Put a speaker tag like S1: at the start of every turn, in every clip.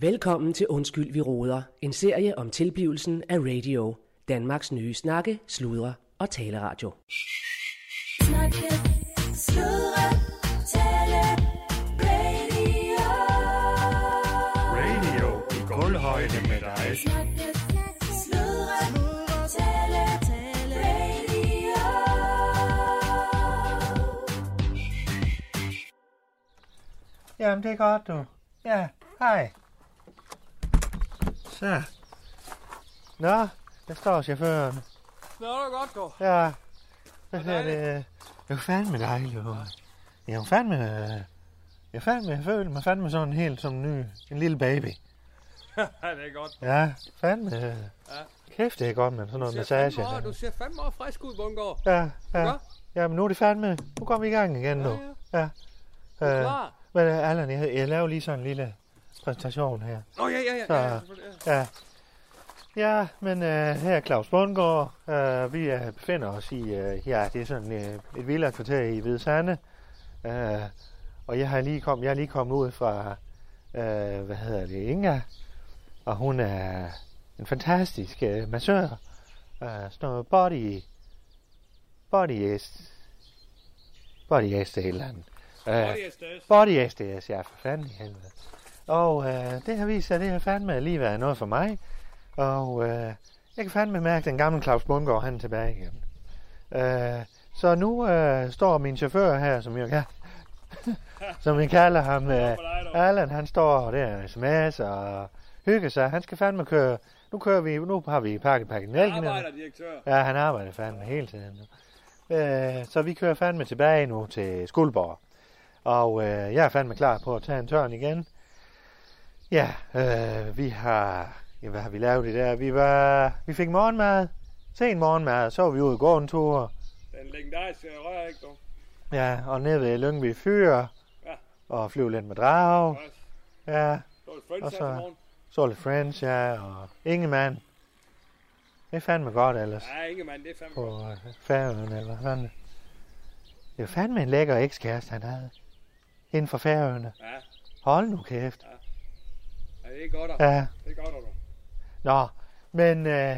S1: Velkommen til Undskyld, vi råder. En serie om tilblivelsen af radio. Danmarks nye snakke, sludre og taleradio.
S2: Snakke, sludre, tale, radio.
S3: Radio i gulvhøjde med dig.
S2: Snakke, sludre, tale, tale, radio.
S4: Jamen, det er godt, du. Ja, hej. Så. Nå, der står chaufføren.
S5: Nå, det er godt, du.
S4: Ja. Hvad hedder
S5: dejligt.
S4: det? Jeg er fandme dejlig, du. Jeg er fandme... øh, Jeg er fandme, jeg føler mig fandme sådan helt som en ny, en lille baby.
S5: Ja, det er godt.
S4: Ja, fandme. Ja. Kæft, det er godt med sådan noget
S5: Du ser
S4: massage. altså."
S5: fandme meget- Du ser fandme meget frisk ud, Bundgaard.
S4: Ja, ja.
S5: Ja.
S4: Jamen, nu er det fandme. Nu går vi i gang igen nu.
S5: Ja,
S4: Ja. Øh,
S5: Klar.
S4: men øh, Allan, jeg, jeg laver lige sådan en lille præsentation her.
S5: Nå, ja, ja, ja.
S4: Så-
S5: ja, ja, selvfølgelig, ja.
S4: Ja. Ja, men øh, her er Claus Bundgaard. Øh, vi øh, befinder os i, øh, ja, det er sådan øh, et villa-kvarter i Hvide Sande. Øh, og jeg, har lige kom, jeg er lige kommet ud fra, øh, hvad hedder det, Inga. Og hun er en fantastisk øh, massør. Øh, sådan noget body... Body est... Body est et eller andet. Øh,
S5: Body SDS.
S4: Body SDS, ja, for fanden i helvede. Og øh, det har vist sig, det har fandme lige været noget for mig. Og øh, jeg kan fandme mærke, at den gamle Claus Bundgaard, han er tilbage igen. Øh, så nu øh, står min chauffør her, som jeg, ja, som jeg kalder ham, øh, Allan, han står der og sms og hygger sig. Han skal fandme køre, nu kører vi, nu har vi pakket pakket nælken.
S5: Arbejder, direktør.
S4: Ja, han arbejder fandme hele tiden nu. Øh, så vi kører fandme tilbage nu til Skuldborg. Og øh, jeg er fandme klar på at tage en tørn igen. Ja, øh, vi har... Ja, hvad har vi lavet det der? Vi, var, vi fik morgenmad. Sen morgenmad. Så var vi ude og gå en tur.
S5: Den legendariske rør, ikke, du?
S4: Ja, og ned ved Lyngby Fyr.
S5: Ja.
S4: Og flyve lidt med drag.
S5: Også.
S4: Ja,
S5: Du er friends
S4: Og
S5: her
S4: så-
S5: til morgen.
S4: så lidt French, ja, og Ingemann. Det er fandme godt ellers.
S5: Nej, ingen mand, det er fandme godt.
S4: på øh, Færøerne, eller hvad fanden. Det var fandme en lækker ekskæreste, han havde. Inden for Færøerne.
S5: Ja,
S4: Hold nu kæft.
S5: ja, det er godt, du.
S4: Ja,
S5: Det er godt, du.
S4: nå. Men øh,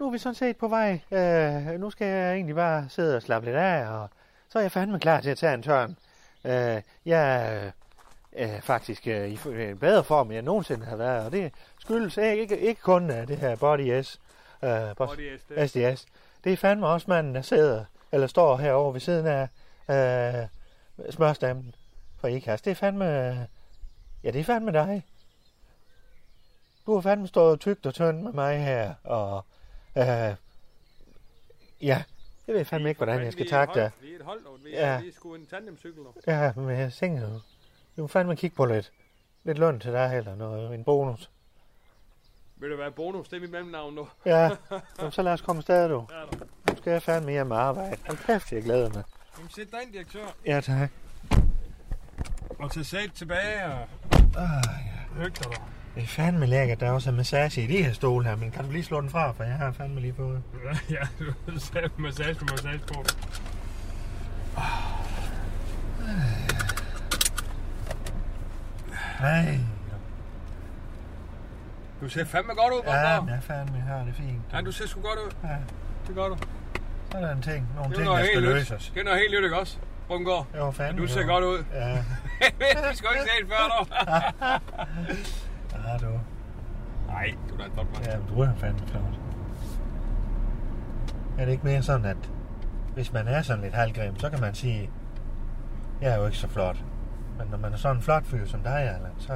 S4: nu er vi sådan set på vej. Øh, nu skal jeg egentlig bare sidde og slappe lidt af, og så er jeg fandme klar til at tage en tørn. Øh, jeg er øh, faktisk øh, i f- øh, bedre form, end jeg nogensinde har været, og det skyldes ikke, ikke, ikke kun af det her body S. Øh, body
S5: Body SDS.
S4: SDS. Det er fandme også manden, der sidder, eller står herovre ved siden af øh, smørstammen fra Ikast. Det er fandme, øh, ja, det er fandme dig. Du har fandme stået tygt og tyndt med mig her, og øh, ja, jeg ved fandme ikke, hvordan jeg skal takke dig.
S5: Vi er et hold, du. Vi
S4: Ja.
S5: er, vi er sgu en tandemcykel, du.
S4: Ja, men jeg tænker jo, du må fandme kigge på lidt, lidt løn til dig eller noget, en bonus.
S5: Vil det være bonus? Det er mit mellemnavn, du.
S4: Ja, Jamen, så lad os komme afsted, du.
S5: Ja, du.
S4: Nu skal jeg fandme hjem og arbejde. Hold kæft, jeg glæder mig.
S5: Jamen, sæt dig ind, direktør.
S4: Ja, tak.
S5: Og tag sæt tilbage og...
S4: Ah,
S5: Hygge dig, du.
S4: Det er fandme lækkert, der er også en massage i det her stol her, men kan du lige slå den fra, for jeg har fandme lige på.
S5: Ja, du sagde massage på massage på.
S4: Nej,
S5: Du ser fandme godt ud,
S4: ja,
S5: Bundgaard.
S4: men jeg fandme har det fint.
S5: Ja, du ser sgu godt ud.
S4: Ja.
S5: Det gør du.
S4: Så er der en ting, nogle
S5: Det er
S4: ting,
S5: noget
S4: der skal
S5: helt nyt.
S4: løses.
S5: Det er noget helt nyt, ikke også? Bundgaard.
S4: Jo, fandme.
S5: Du ser
S4: jo.
S5: godt ud.
S4: Ja,
S5: Vi skal jo ikke se det før, dog.
S4: ja du.
S5: Nej, du er da et flot mand.
S4: Ja, men du er fandme flot. Er det ikke mere sådan, at hvis man er sådan lidt halvgrim, så kan man sige, jeg er jo ikke så flot. Men når man er sådan en flot fyr som dig, Allan, så,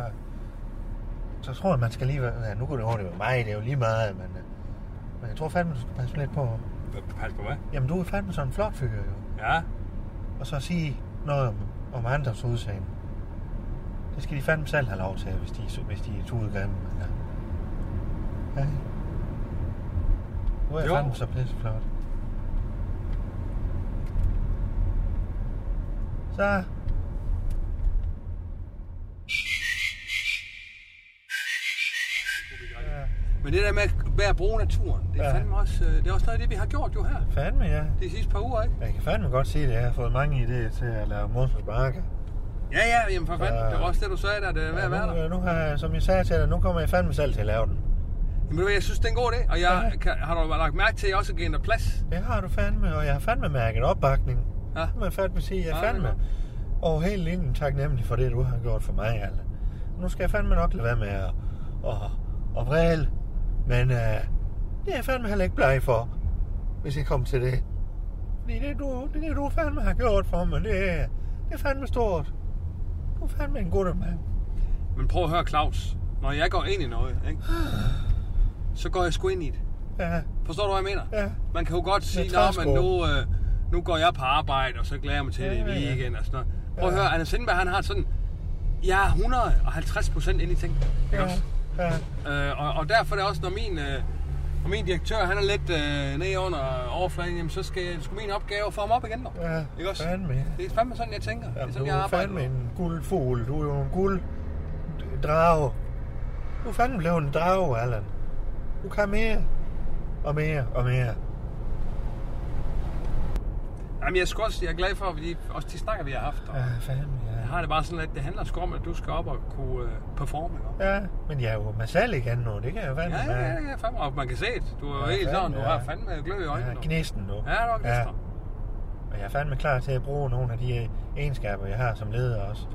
S4: så tror jeg, man skal lige være... Ja, nu kunne det hurtigt være mig, det er jo lige meget, men, øh, men jeg tror fandme, du skal passe lidt på.
S5: Hvad- Pas på, hvad?
S4: Jamen, du er fandme sådan en flot fyr, jo.
S5: Ja,
S4: Og så sige noget om, om andres udseende. Det skal de fandme selv have lov til, hvis de, hvis de er tudegrimme. men, Ja. Ja. Nu er jeg
S5: Jo.
S4: fandme så pisseflot. Så. Ja,
S5: men det der med at være bruge naturen, det er
S4: Ja.
S5: fandme også, øh, det er også noget af det, vi har gjort jo her
S4: fandme ja.
S5: de sidste par uger, ikke?
S4: Jeg kan fandme godt se, at jeg har fået mange idéer til at lave motorsparker.
S5: Ja, ja, jamen for fanden.
S4: Øh.
S5: Det var også det, du sagde der. Det er værd at være der.
S4: nu, øh, nu har jeg, som jeg sagde til dig, nu kommer jeg fandme selv til at lave den.
S5: Jamen, ved du hvad, jeg synes, det er en god idé. Og jeg
S4: Ja.
S5: kan, har du lagt mærke til, at jeg også har givet dig plads.
S4: Det har du fandme, og jeg har fandme mærket opbakning.
S5: Ja.
S4: Det må jeg fandme sige, jeg er
S5: Ja, det er
S4: fandme over hele linjen taknemmelig for det, du har gjort for mig, Allan. Nu skal jeg fandme nok lade være med at, at, at vræle, men øh, det er jeg fandme heller ikke bleg for, hvis jeg kommer til det. Fordi det, du, det, du fandme har gjort for mig, det, er- det er fandme stort. Du er fandme en god mand.
S5: Men prøv at høre, Claus. Når jeg går ind i noget, ikke? så går jeg sgu ind i det.
S4: Ja,
S5: Forstår du, hvad jeg mener?
S4: ja.
S5: Man kan jo godt sige,
S4: træsko.
S5: at men nu, øh, nu går jeg på arbejde, og så glæder jeg mig til
S4: Ja,
S5: det i
S4: ja, ja.
S5: weekend og sådan noget. Prøv at
S4: Ja.
S5: høre, Anders Sindberg, han har sådan... Jeg er 150 procent inde i ting.
S4: Ja,
S5: Ja. Også?
S4: ja,
S5: Øh, og, og derfor er det også, når min, øh, når min direktør han er lidt øh, nede under overfladen, jamen, så skal, skal min opgave få ham op igen. Dog.
S4: ja.
S5: Ikke også?
S4: Fandme, ja.
S5: Det er fandme sådan, jeg tænker. det er
S4: Jamen,
S5: sådan,
S4: du
S5: jeg
S4: er
S5: arbejder.
S4: fandme en guldfugl. Du er jo en gulddrage. Du er fandme blevet en drage, Allan. Du kan mere og mere og mere.
S5: Jamen, jeg, er sgu også, jeg er glad for fordi også de snakker, vi har haft. Og
S4: Ja, fandme, ja.
S5: jeg har det bare sådan, at det handler sgu om, at du skal op og kunne øh, performe. Ikke?
S4: Ja, men jeg er jo mig selv igen nu. Det kan jeg fandme
S5: Ja, ja,
S4: mærke.
S5: ja, ja, fandme. Og man kan se det. Du er jo
S4: Ja,
S5: helt sådan,
S4: fandme,
S5: du
S4: ja.
S5: har fandme glød i øjnene.
S4: Ja,
S5: Ja,
S4: gnisten nu.
S5: ja, du er gnister.
S4: Og jeg er fandme klar til at bruge nogle af de øh, egenskaber, jeg har som leder også.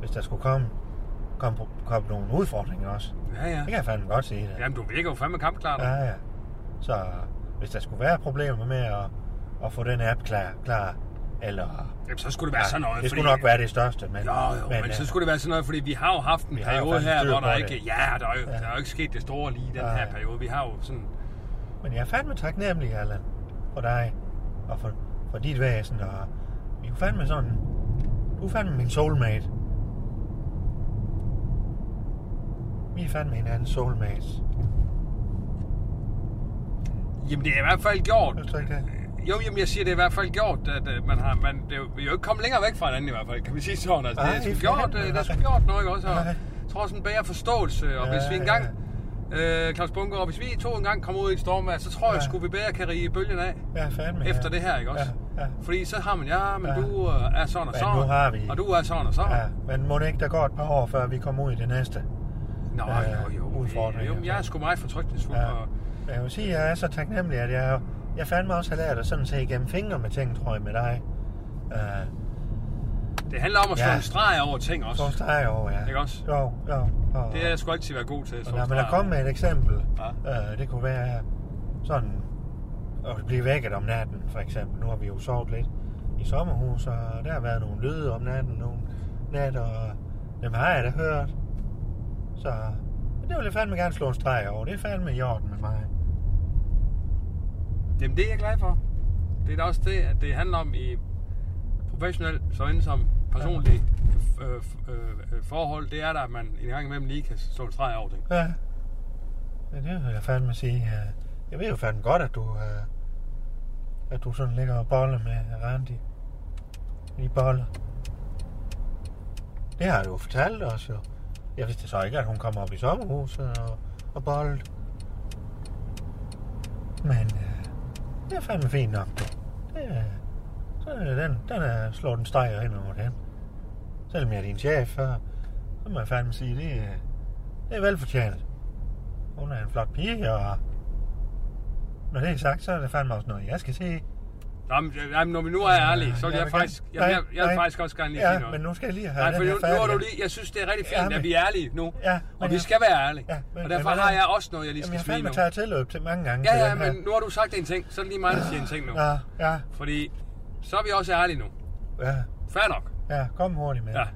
S4: Hvis der skulle komme, komme, komme nogle udfordringer også.
S5: Ja, ja.
S4: Det kan jeg fandme godt se det.
S5: Jamen, du virker jo fandme kampklar. Ja.
S4: Ja, ja. Så hvis der skulle være problemer med at, at få den app klar, klar eller...
S5: Jamen, så skulle det være sådan noget.
S4: det skulle
S5: fordi...
S4: nok være det største, men...
S5: Jo, jo, men, men
S4: øh,
S5: så skulle det være sådan noget, fordi vi har jo haft en
S4: vi har jo
S5: periode
S4: faktisk
S5: her,
S4: styr
S5: hvor
S4: på
S5: der
S4: det.
S5: ikke... Ja, der er, jo,
S4: Ja.
S5: der er jo ikke sket det store lige i den
S4: Nej.
S5: her periode. Vi har jo sådan...
S4: men jeg er fandme taknemmelig, Allan, for dig og for, for dit væsen, og vi er jo fandme sådan... Du er fandme min soulmate. Vi er fandme hinandens soulmates.
S5: Jamen, det er i hvert fald gjort.
S4: Synes du ikke det?
S5: Jo, jamen, jeg siger, det er i hvert fald gjort, at øh, man har... Man, det er jo, vi er jo ikke kommet længere væk fra hinanden i hvert fald, kan vi sige sådan. Altså, det
S4: Nej,
S5: er sgu
S4: for
S5: gjort,
S4: helvede,
S5: øh, der er sgu
S4: nej.
S5: gjort noget, ikke også? Og,
S4: Nej.
S5: jeg tror også en bedre forståelse, og
S4: Ja,
S5: hvis vi engang... Øh, Claus Bunker, hvis vi to engang kommer ud i et stormvær, så tror jeg
S4: Ja.
S5: sgu, vi bedre kan rige bølgen af.
S4: Ja, fandme.
S5: efter
S4: ja.
S5: det her, ikke også?
S4: Ja, ja.
S5: Fordi så har man, ja, men
S4: Ja.
S5: du øh, er sådan og
S4: Men
S5: sådan,
S4: nu har vi-
S5: og du er sådan og sådan.
S4: Ja, men må det ikke, der går et par år, før vi kommer ud i det næste?
S5: Nå,
S4: Ja,
S5: jo, jo,
S4: udfordringer.
S5: jo, men jeg er sgu meget fortrykningsfuld, ja.
S4: Ja.
S5: og
S4: Jeg vil sige, at jeg er så taknemmelig, at jeg, jeg fandme også har lært at sådan se igennem fingre med ting, tror jeg, med dig. Uh,
S5: det handler om at slå
S4: Ja.
S5: en streg over ting
S4: så
S5: også.
S4: streger over, ja.
S5: Ikke også?
S4: Jo, jo. jo.
S5: Det er jeg sgu altid være god til. at
S4: Og
S5: slå
S4: når
S5: en
S4: man er
S5: streg.
S4: kommet med et eksempel,
S5: Ja.
S4: uh, det kunne være sådan at blive vækket om natten, for eksempel. Nu har vi jo sovet lidt i sommerhus, og der har været nogle lyde om natten, nogle nat, og dem har jeg da hørt. Så det vil jeg fandme gerne slå en streg over. Det er fandme i orden med mig.
S5: Jamen, det er jeg glad for. Det er da også det, at det handler om i professionel, såvel som personlig øh, øh, øh, forhold, det er der, at man en gang imellem lige kan slå en streg over ting.
S4: Ja. ja det vil jeg fandme sige. øh, Jeg ved jo fandme godt, at du, øh, at du sådan ligger og boller med Randi. I boller. Det har du jo fortalt os jo. Jeg vidste så ikke, at hun kommer op i sommerhuset og, og boller. Men øh, det er fandme fint nok, du. Det, øh, så er det den, den er, slår den streger ind over den. Selvom jeg er din chef, så, så må jeg fandme sige, det, øh, det er velfortjent. Hun er en flot pige, og når det er sagt, så er det fandme også noget, jeg skal se.
S5: Jamen, øh, jamen, når vi nu er ærlige, så vil
S4: Jeg
S5: jeg,
S4: vil
S5: faktisk,
S4: gerne-
S5: jeg, jeg,
S4: Nej,
S5: jeg
S4: nej.
S5: vil faktisk også gerne lige sige
S4: Ja,
S5: noget.
S4: men nu skal jeg lige have
S5: Nej,
S4: den
S5: for
S4: her
S5: nu, nu er du
S4: færdig.
S5: lige, jeg synes, det er rigtig fint,
S4: Ja,
S5: ja,
S4: men-
S5: at vi er ærlige nu.
S4: Ja,
S5: og
S4: men
S5: vi
S4: jeg-
S5: skal være ærlige.
S4: Ja, men-
S5: og derfor
S4: men-
S5: har jeg også noget, jeg lige
S4: Jamen,
S5: skal
S4: jeg har
S5: smide nu.
S4: fandme taget tilløb til mange gange
S5: Ja,
S4: til
S5: ja,
S4: den her.
S5: men nu har du sagt en ting, så er det lige mig, der siger en ting nu.
S4: Ja, ja,
S5: Fordi så er vi også ærlige nu.
S4: ja,
S5: Fair nok.
S4: ja, kom hurtigt med.
S5: Ja.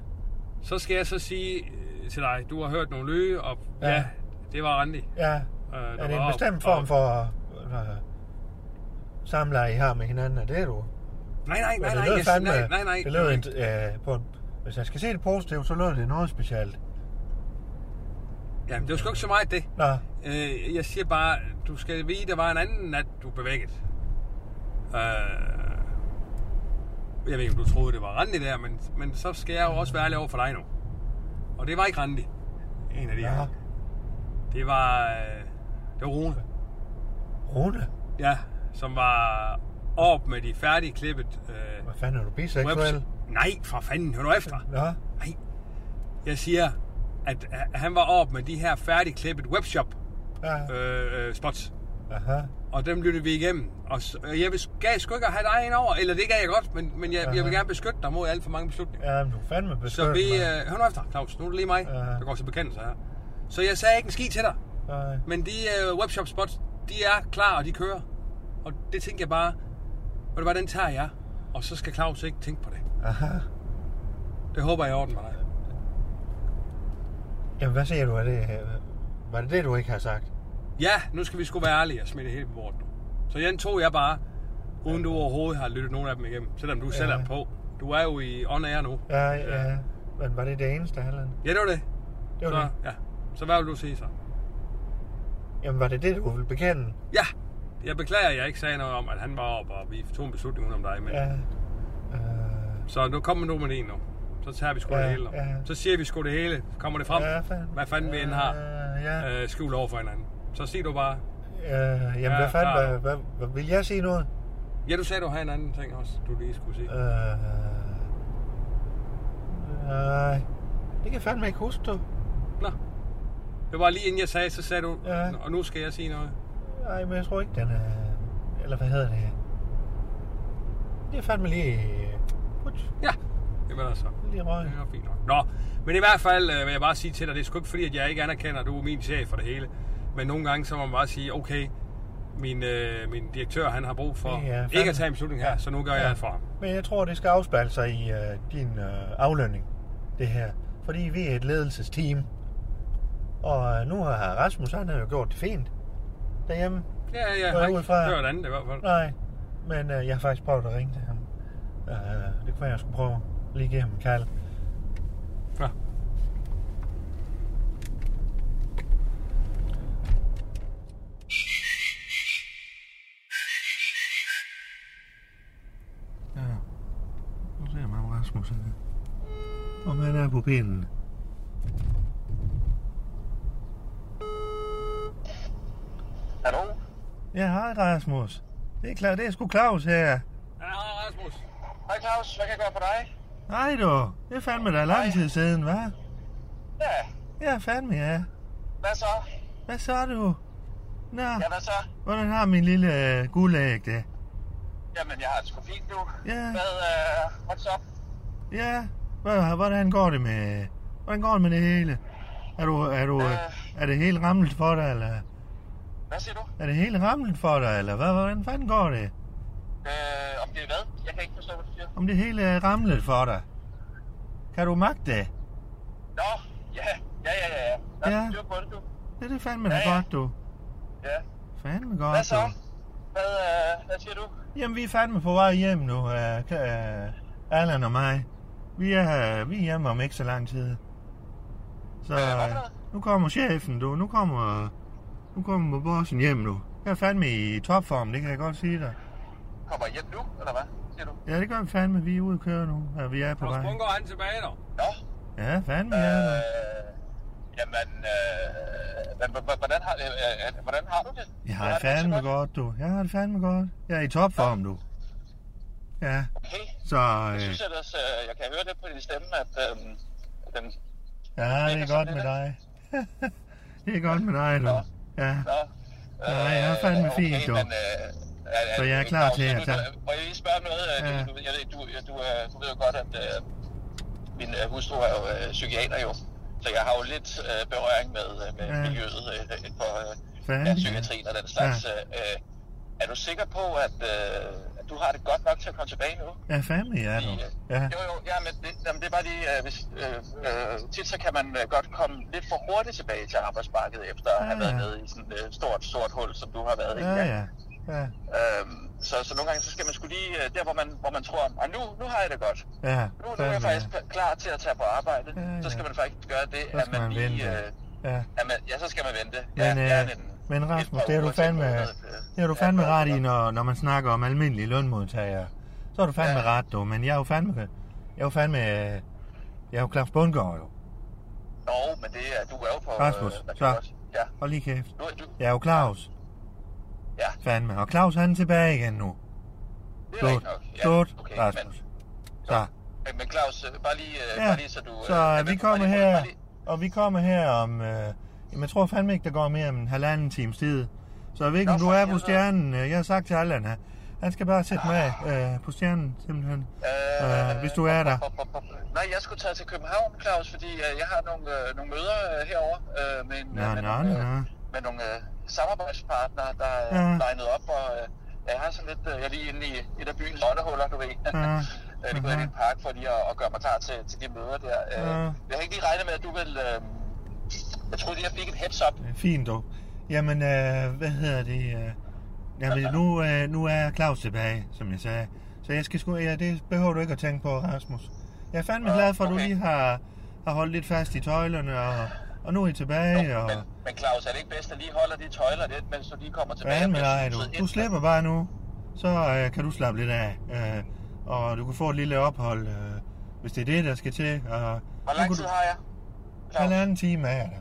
S5: Så skal jeg så sige øh, til dig, du har hørt nogle lyde, og ja,
S4: Ja.
S5: det var Randi.
S4: ja.
S5: Øh, der
S4: Er det
S5: var
S4: en
S5: op-
S4: bestemt
S5: op-
S4: form for øh, samleje, I har med hinanden? Er det du?
S5: Nej, nej, nej,
S4: Men
S5: nej,
S4: Altså, det lød
S5: jeg-
S4: fandme,
S5: nej, nej, nej.
S4: det lød en, øh, på en, hvis jeg skal se det positivt, så lød det noget specielt.
S5: Jamen, det var sgu ikke så meget det.
S4: Nå,
S5: Øh, jeg siger bare, du skal vide, der var en anden nat, du blev vækket. Øh, jeg ved ikke, om du troede, det var Randi der, men, men så skal jeg jo også være ærlig over for dig nu. Og det var ikke Randi, en af de her.
S4: ja.
S5: Det var, øh, det var Rune,
S4: Rune,
S5: ja, som var op med de færdige klippet. Øh,
S4: hvad fanden er du
S5: webs-
S4: biseksuel?
S5: Nej, for fanden, hør nu efter.
S4: Nå,
S5: Nej, Jeg siger, at at han var op med de her færdigklippet webshop
S4: Ja.
S5: øh, øh, spots.
S4: Aha.
S5: Og dem lyttede vi igennem. Og s- øh, jeg vil, gav sgu ikke at have dig ind over, eller det gav jeg godt, men, men jeg, jeg vil
S4: Aha.
S5: gerne beskytte dig mod alt for mange beslutninger.
S4: Ja, men du er fandme beskyttet.
S5: Så vi...
S4: mand.
S5: Øh, hør nu efter, Claus. Nu er det lige mig,
S4: Ja.
S5: der går til bekendelse her. Så jeg sagde ikke en ski til dig.
S4: Nej.
S5: Men de øh, webshop spots, de er klar, og de kører. Og det tænkte jeg bare, og det var den tager jeg. Og så skal Claus ikke tænke på det.
S4: Aha.
S5: Det håber jeg er i orden med dig.
S4: Jamen, hvad siger du af det? øh, Var det det, du ikke har sagt?
S5: Ja, nu skal vi sgu være ærlige og smide det hele på bordet. nu. Så den tog jeg bare, uden du overhovedet har lyttet nogen af dem igennem. Selvom du ja. selv
S4: Ja.
S5: er på. Du er jo i on air nu.
S4: Ja, ja. ja. Men var det det eneste, Halland?
S5: Ja, det var det.
S4: Det var
S5: så,
S4: det.
S5: Ja. så hvad vil du sige så?
S4: Jamen, var det det, du ville bekende?
S5: Ja, jeg beklager, at jeg ikke sagde noget om, at han var op, og vi tog en beslutning uden om dig. Men...
S4: Ja. Øh,
S5: Så nu kommer nu med en nu. Så tager vi sgu
S4: Ja,
S5: det hele. nu.
S4: ja.
S5: Så siger vi sgu det hele. Kommer det frem?
S4: Ja, fandme.
S5: Hvad fanden vi end har
S4: Øh, ja.
S5: øh, skjult over for hinanden. Så sig du bare.
S4: øh, jamen,
S5: ja,
S4: hvad fanden?
S5: klar.
S4: Hvad, hvad, hvad, vil jeg sige noget?
S5: Ja, du sagde, du havde en anden ting også, du lige skulle sige.
S4: Øh, nej. Det kan jeg fandme ikke huske, du.
S5: Nå. Det var lige inden jeg sagde, så sagde du,
S4: Ja.
S5: og nu skal jeg sige noget.
S4: Nej, men jeg tror ikke, den er... Eller hvad hedder det? Det er fandme lige... Put,
S5: Ja, altså. det var der så.
S4: lige røg.
S5: Det var fint nok. Nå, men i hvert fald øh, vil jeg bare sige til dig, det er sgu ikke fordi, at jeg ikke anerkender, at du er min chef for det hele. Men nogle gange, så må man bare sige, okay, min, øh, min direktør, han har brug for
S4: Ja,
S5: ja, ikke
S4: fandme.
S5: at tage en beslutning her,
S4: Ja.
S5: så nu gør
S4: Ja.
S5: jeg det for ham.
S4: Men jeg tror, det skal afspejle sig i øh, din øh, aflønning, det her. Fordi vi er et ledelsesteam. Og øh, nu har Rasmus, han har jo gjort det fint derhjemme.
S5: Ja, ja,
S4: jeg
S5: jeg har ikke
S4: ud fra-
S5: hørt andet i hvert fald.
S4: Nej, men øh, jeg har faktisk prøvet at ringe til ham. Øh, det kunne være, jeg skulle prøve lige igennem Karl.
S5: Ja.
S4: Ja. Nu ser man Rasmus her. Om han er på pinden.
S6: Hallo?
S4: Ja, hej Rasmus. Det er klart, det er sgu Claus her.
S5: Ja, Rasmus.
S6: Hej Claus, hvad kan jeg gøre for dig?
S4: Hej du, det er fandme da lang tid siden, hva'?
S6: Ja,
S4: Ja, fandme ja.
S6: hvad så?
S4: Hvad så du? Nå,
S6: Ja, hvad så?
S4: hvordan har min lille øh, guldæg det?
S6: Jamen, jeg har det sgu fint nu.
S4: Ja.
S6: Hvad, øh, what's up?
S4: Ja, hva- hvordan går det med, hvordan går det med det hele? Er du, er du, øh,
S6: Øh.
S4: er det helt rammelt for dig, eller
S6: Hvad siger du?
S4: er det helt rammelt for dig, eller hvad, hvordan fanden går det?
S6: Øh, om det er hvad? Jeg kan ikke forstå, hvad du siger.
S4: Om det hele er ramlet for dig? Kan du magte det?
S6: Nå, ja, ja, ja, ja. ja. Der
S4: Ja.
S6: er styr på det, du.
S4: Det er det fandme da
S6: Ja, ja.
S4: godt, du.
S6: Ja.
S4: Fandme godt,
S6: Hvad så?
S4: du.
S6: Hvad, øh, hvad siger du?
S4: Jamen, vi er fandme på vej hjem nu, uh, uh, Allan og mig. Vi er, uh, vi er hjemme om ikke så lang tid. Så
S6: Hvad for noget?
S4: øh, nu kommer chefen, du. Nu kommer, nu kommer bossen hjem nu. Jeg er fandme i topform, det kan jeg godt sige dig.
S6: Kommer I hjem nu, eller hvad? Siger du?
S4: Ja, det gør vi fandme. Vi er ude at køre nu, og vi er på
S5: Hvor
S4: vej.
S5: sprunker han tilbage dog?
S6: Nå,
S4: Ja, fandme
S6: øh,
S4: ja. da.
S6: jamen, øh, men h- h- hvordan har, øh, øh, hvordan har du det?
S4: Jeg
S6: Hvordan
S4: har
S6: er
S4: det fandme godt, du. Jeg har det fandme godt. Jeg er i topform, du. Ja,
S6: Okay,
S4: så...
S6: jeg
S4: Øh,
S6: synes ellers, øh, jeg kan høre det på din stemme, at øh, den,
S4: Ja, det er godt med dig. det er godt med dig, du. Ja.
S6: Nå.
S4: Ja, jeg er fandme
S6: okay,
S4: fint, jo.
S6: men, øh, er, er,
S4: Så jeg er klar til at
S6: at
S4: tage-
S6: Må jeg lige spørge om noget? Ja.
S4: Ja.
S6: Du, jeg ved, du, du, øh, du ved jo godt, at øh, min øh, hustru er jo øh, psykiater jo. Så jeg har jo lidt øh, berøring med, øh, med
S4: Ja.
S6: ja. miljøet øh, øh, på øh,
S4: Fanden,
S6: ja,
S4: ja.
S6: psykiatrien og den slags.
S4: Ja.
S6: Ja. Øh, er du sikker på, at, øh, at du har det godt nok til at komme tilbage nu?
S4: Ja, fandme ja, du.
S6: Fordi, øh,
S4: Ja.
S6: Jo, jo, ja, men det, jamen, det er bare lige, øh, hvis, øh, øh, tit så kan man øh, godt komme lidt for hurtigt tilbage til arbejdsmarkedet, efter at
S4: Ja,
S6: have været
S4: Ah, ja.
S6: nede i sådan et øh, stort, stort hul, som du har været i.
S4: Ja, ja. Ja,
S6: Øhm, så, så nogle gange, så skal man skulle lige øh, der, hvor man, hvor man tror, at nu, nu har jeg det godt.
S4: ja.
S6: Nu, nu er jeg
S4: Fandme ja.
S6: faktisk p- klar til at tage på arbejde.
S4: Ja, ja.
S6: Så skal man faktisk gøre det,
S4: Så
S6: at
S4: skal
S6: man,
S4: man
S6: lige...
S4: vente.
S6: Øh,
S4: Ja.
S6: at man, ja, så skal man vente. ja,
S4: Men, øh,
S6: gerne en-
S4: men
S6: et
S4: Rasmus,
S6: par
S4: det er du
S6: uger til en
S4: fandme,
S6: måned, øh,
S4: det er du
S6: ja,
S4: fandme
S6: godt.
S4: ret i, når, når man snakker om almindelige lønmodtagere. Så er du fandme
S6: Ja.
S4: ret, du. Men jeg er jo fandme... Jeg er jo fandme... øh, Jeg er jo Claus Bundgaard, jo.
S6: Nå, men det er, du er jo på... øh,
S4: Rasmus,
S6: hvad kan
S4: så.
S6: jeg godt- Ja,
S4: Hold lige kæft.
S6: nu er du...
S4: Jeg er jo Claus.
S6: Ja.
S4: Fandme. Og Claus, han er tilbage igen nu.
S6: Det er
S4: Slut.
S6: rigtigt nok. Ja,
S4: Slut,
S6: okay, men-
S4: Rasmus. Så.
S6: Men men Claus, øh, bare lige, øh,
S4: Ja,
S6: bare lige så du...
S4: så
S6: er
S4: vi
S6: med på-
S4: kommer
S6: bare lige-
S4: her,
S6: bare lige-
S4: og vi kommer her om, øh, jamen, jeg tror fandme ikke, der går mere end en halvanden times tid. Så jeg ved ikke, om
S6: Nå,
S4: du
S6: for
S4: er på
S6: helvede.
S4: stjernen. Øh, Jeg har sagt til Allan, at han skal bare sætte mig af øh, på stjernen, simpelthen. Øh, hvis du er der.
S6: Bop, bop, bop. Nej, jeg skulle tage til København, Claus, fordi øh, jeg har nogle, øh, nogle møder øh, herovre øh, med, en,
S4: Nå,
S6: med,
S4: nå,
S6: nogle,
S4: nå.
S6: med nogle øh, samarbejdspartnere, der er
S4: Ja.
S6: ja. legnet op, og øh, jeg har sådan lidt, øh, jeg er lige inde i et af byens lottehuller, du ved.
S4: Ja.
S6: Ja. det går ind i en
S4: Mhm.
S6: park for lige at, at gøre mig klar til, til de møder der. Øh,
S4: Ja.
S6: Jeg har ikke lige regnet med, at du vil... Øh, jeg troede lige, jeg fik et heads up.
S4: Øh, Fint dog. Jamen, øh, hvad hedder det? Øh, jamen, nu, øh, nu er Claus tilbage, som jeg sagde. Så jeg skal sgu, ja, det behøver du ikke at tænke på, Rasmus. Jeg er fandme
S6: Ah,
S4: glad for, at du
S6: okay.
S4: lige har, har holdt lidt fast i tøjlerne, og, og nu er I tilbage, og...
S6: Men, men Claus, er det ikke bedst, at lige holder de tøjler lidt, mens du lige kommer tilbage?
S4: Hvad med
S6: og bliver
S4: dig,
S6: suget
S4: du?
S6: ind?
S4: Du slipper bare nu. Så øh, kan du slappe lidt af. Øh, og du kan få et lille ophold, øh, hvis det er det, der skal til. Og,
S6: Hvor
S4: nu kan
S6: lang tid har jeg?
S4: du...
S6: Claus?
S4: Halvanden time af dig.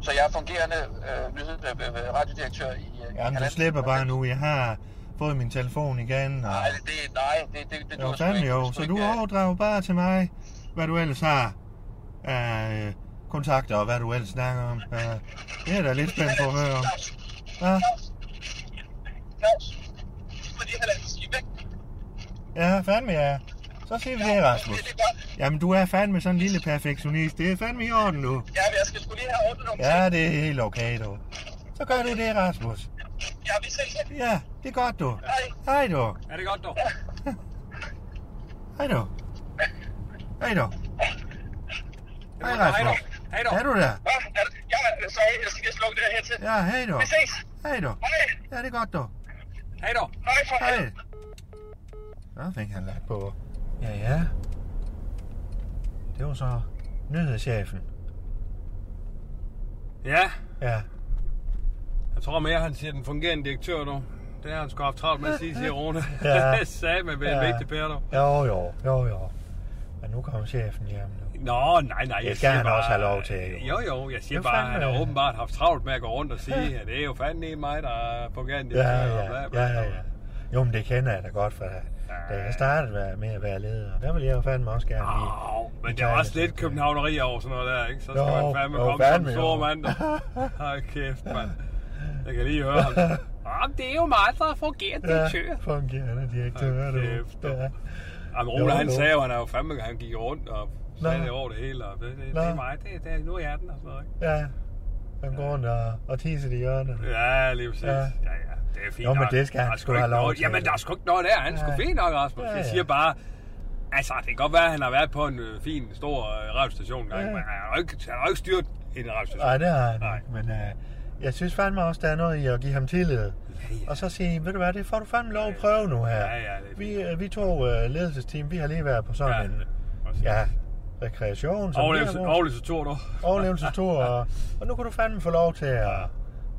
S6: Så jeg er fungerende øh, nyhed, øh, øh, radiodirektør i... Øh,
S4: Jamen, du
S6: Halland.
S4: slipper bare nu. Jeg har fået min telefon igen. Og...
S6: Nej, det, nej, det, det, det
S4: Jo,
S6: duer sgu
S4: fandme
S6: ikke. Det er
S4: jo.
S6: sgu
S4: Så
S6: ikke,
S4: du
S6: øh,
S4: overdrager bare til mig, hvad du ellers har af øh, kontakter, og hvad du ellers snakker om. Øh, det er da lidt spændt på at høre om.
S6: Claus,
S4: Ja,
S6: Claus, Claus, fordi han er sige væk.
S4: ja fandme ja. Så siger vi det, Rasmus.
S6: Det er godt.
S4: Jamen, du er fandme sådan en lille perfektionist. Det er fandme i orden nu.
S6: Ja, men jeg skal sgu lige have ordnet nogle ting.
S4: Ja, det er helt okay, du. Så gør du det, Rasmus.
S6: Jeg vil selv hen.
S4: Ja, det er godt, du.
S6: Hej.
S4: Hej, du.
S5: Er det godt dog?
S4: Hej, du. Hej, du. Hej,
S5: Hej dog.
S4: Rasmus.
S5: Hej
S4: Er
S5: dog.
S4: du der?
S6: Hva? Er det- Ja, sorry, jeg skal lige slukke det her til.
S4: Ja, hej, du.
S6: Vi ses.
S4: Hej, du.
S6: Hej.
S4: Ja, det er godt, du.
S5: Hej dog.
S6: Hej for helvede.
S4: Hej. Så fik han lagt på. Ja, ja. Det var så nyhedschefen.
S5: Ja,
S4: Ja.
S5: jeg tror mere, han siger den fungerende direktør dog. Det har han sgu haft travlt med at sige, siger Rune.
S4: Ja.
S5: Ja. Sagde man ved en
S4: Ja.
S5: vigtig pære dog.
S4: Jo, jo, jo, jo. Men nu kommer chefen hjem nu.
S5: Nå, nej, nej.
S4: Det skal
S5: siger øh,
S4: han også have lov til, jo.
S5: Jo, jo, jeg siger
S4: Det er
S5: bare, at
S4: fandme-
S5: han har åbenbart haft travlt med at gå rundt og sige, at det er jo fandme mig, der er fungerende
S4: Ja,
S5: direktør. og
S4: ja,
S5: bla, bla,
S4: ja, ja,
S5: bla.
S4: ja. Jo, men det kender jeg da godt fra, da jeg startede med at være leder. Der ville jeg jo fandme også gerne
S5: Ah,
S4: lige...
S5: Au, men det er også lidt københavneri over sådan noget der, ikke? Så skal
S4: Jo,
S5: man fandme
S4: jo,
S5: komme som
S4: fandme, jo.
S5: stor mand. Hold kæft, mand. Jeg kan lige høre ham. Jamen, det er jo mig, der fungerer direktør.
S4: fungerende direktør,
S5: Hold
S4: du.
S5: kæft, du.
S4: Ja.
S5: Jamen, Rola,
S4: Jo,
S5: han
S4: jo.
S5: sagde jo, han er jo fandme, han gik rundt og sagde
S4: Nå.
S5: det over det hele. Og det, det, det
S4: Nå.
S5: er mig, det, det, nu er jeg den og sådan noget, ikke?
S4: ja. Han går rundt og, og tisser i hjørnet.
S5: Ja, lige præcis. Ja,
S4: Ja.
S5: ja. Det er fint
S4: Jo, men
S5: nok.
S4: det skal han
S5: Der er
S4: sgu
S5: ikke
S4: have lov
S5: noget-
S4: til.
S5: Jamen, der er sgu ikke noget der. Han er sgu
S4: Nej.
S5: fint nok, Rasmus.
S4: Ja,
S5: Jeg
S4: ja.
S5: siger bare, altså, det kan godt være, at han har været på en øh, fin, stor øh, radiostation engang,
S4: Ja.
S5: men han har jo ikke, han har jo ikke styrt en radiostation.
S4: Nej, det har han
S5: Nej.
S4: ikke, men øh, jeg synes fandme også, der er noget i at give ham tillid.
S5: ja.
S4: Og så sige, ved du hvad, det får du fandme lov at prøve nu her.
S5: Ja, ja, det er
S4: vi, øh, vi to øh, ledelsesteam, vi har lige været på sådan en
S5: præcis.
S4: ja, rekreation, som
S5: Overlevelse,
S4: vi har brugt.
S5: overlevelse tur, du.
S4: overlevelsestur, og, og nu kan du fandme få lov til at,